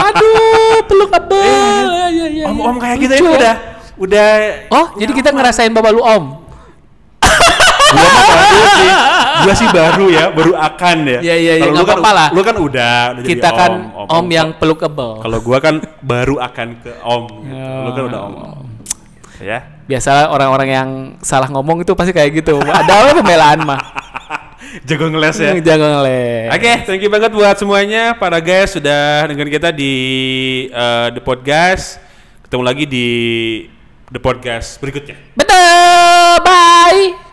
[SPEAKER 1] Aduh, peluk abal.
[SPEAKER 2] Iya,
[SPEAKER 1] Ya, ya, ya, ya.
[SPEAKER 2] Om-om kayak gitu kita ini
[SPEAKER 1] Lucu.
[SPEAKER 2] udah udah
[SPEAKER 1] Oh, jadi
[SPEAKER 2] Iya,
[SPEAKER 1] kita ngerasain bapak lu
[SPEAKER 2] Oh,
[SPEAKER 1] om.
[SPEAKER 2] gua mah baru sih. Gua sih baru ya, baru akan ya.
[SPEAKER 1] Iya, iya, iya,
[SPEAKER 2] Kalau lu
[SPEAKER 1] nggak
[SPEAKER 2] kan
[SPEAKER 1] apa-apa lah.
[SPEAKER 2] Lu kan udah, udah jadi
[SPEAKER 1] Kita kan om,
[SPEAKER 2] om.
[SPEAKER 1] yang peluk abal.
[SPEAKER 2] Kalau gua kan baru akan ke om. gitu. Lu kan udah om. om. Ya.
[SPEAKER 1] Biasa orang-orang yang salah ngomong itu pasti kayak gitu. Ada apa pembelaan mah.
[SPEAKER 2] [laughs] Jago ngeles ya.
[SPEAKER 1] Jangan ngeles.
[SPEAKER 2] Oke, thank you banget buat semuanya para guys sudah dengan kita di eh, The Podcast. Ketemu lagi di the podcast berikutnya.
[SPEAKER 1] Betul, bye.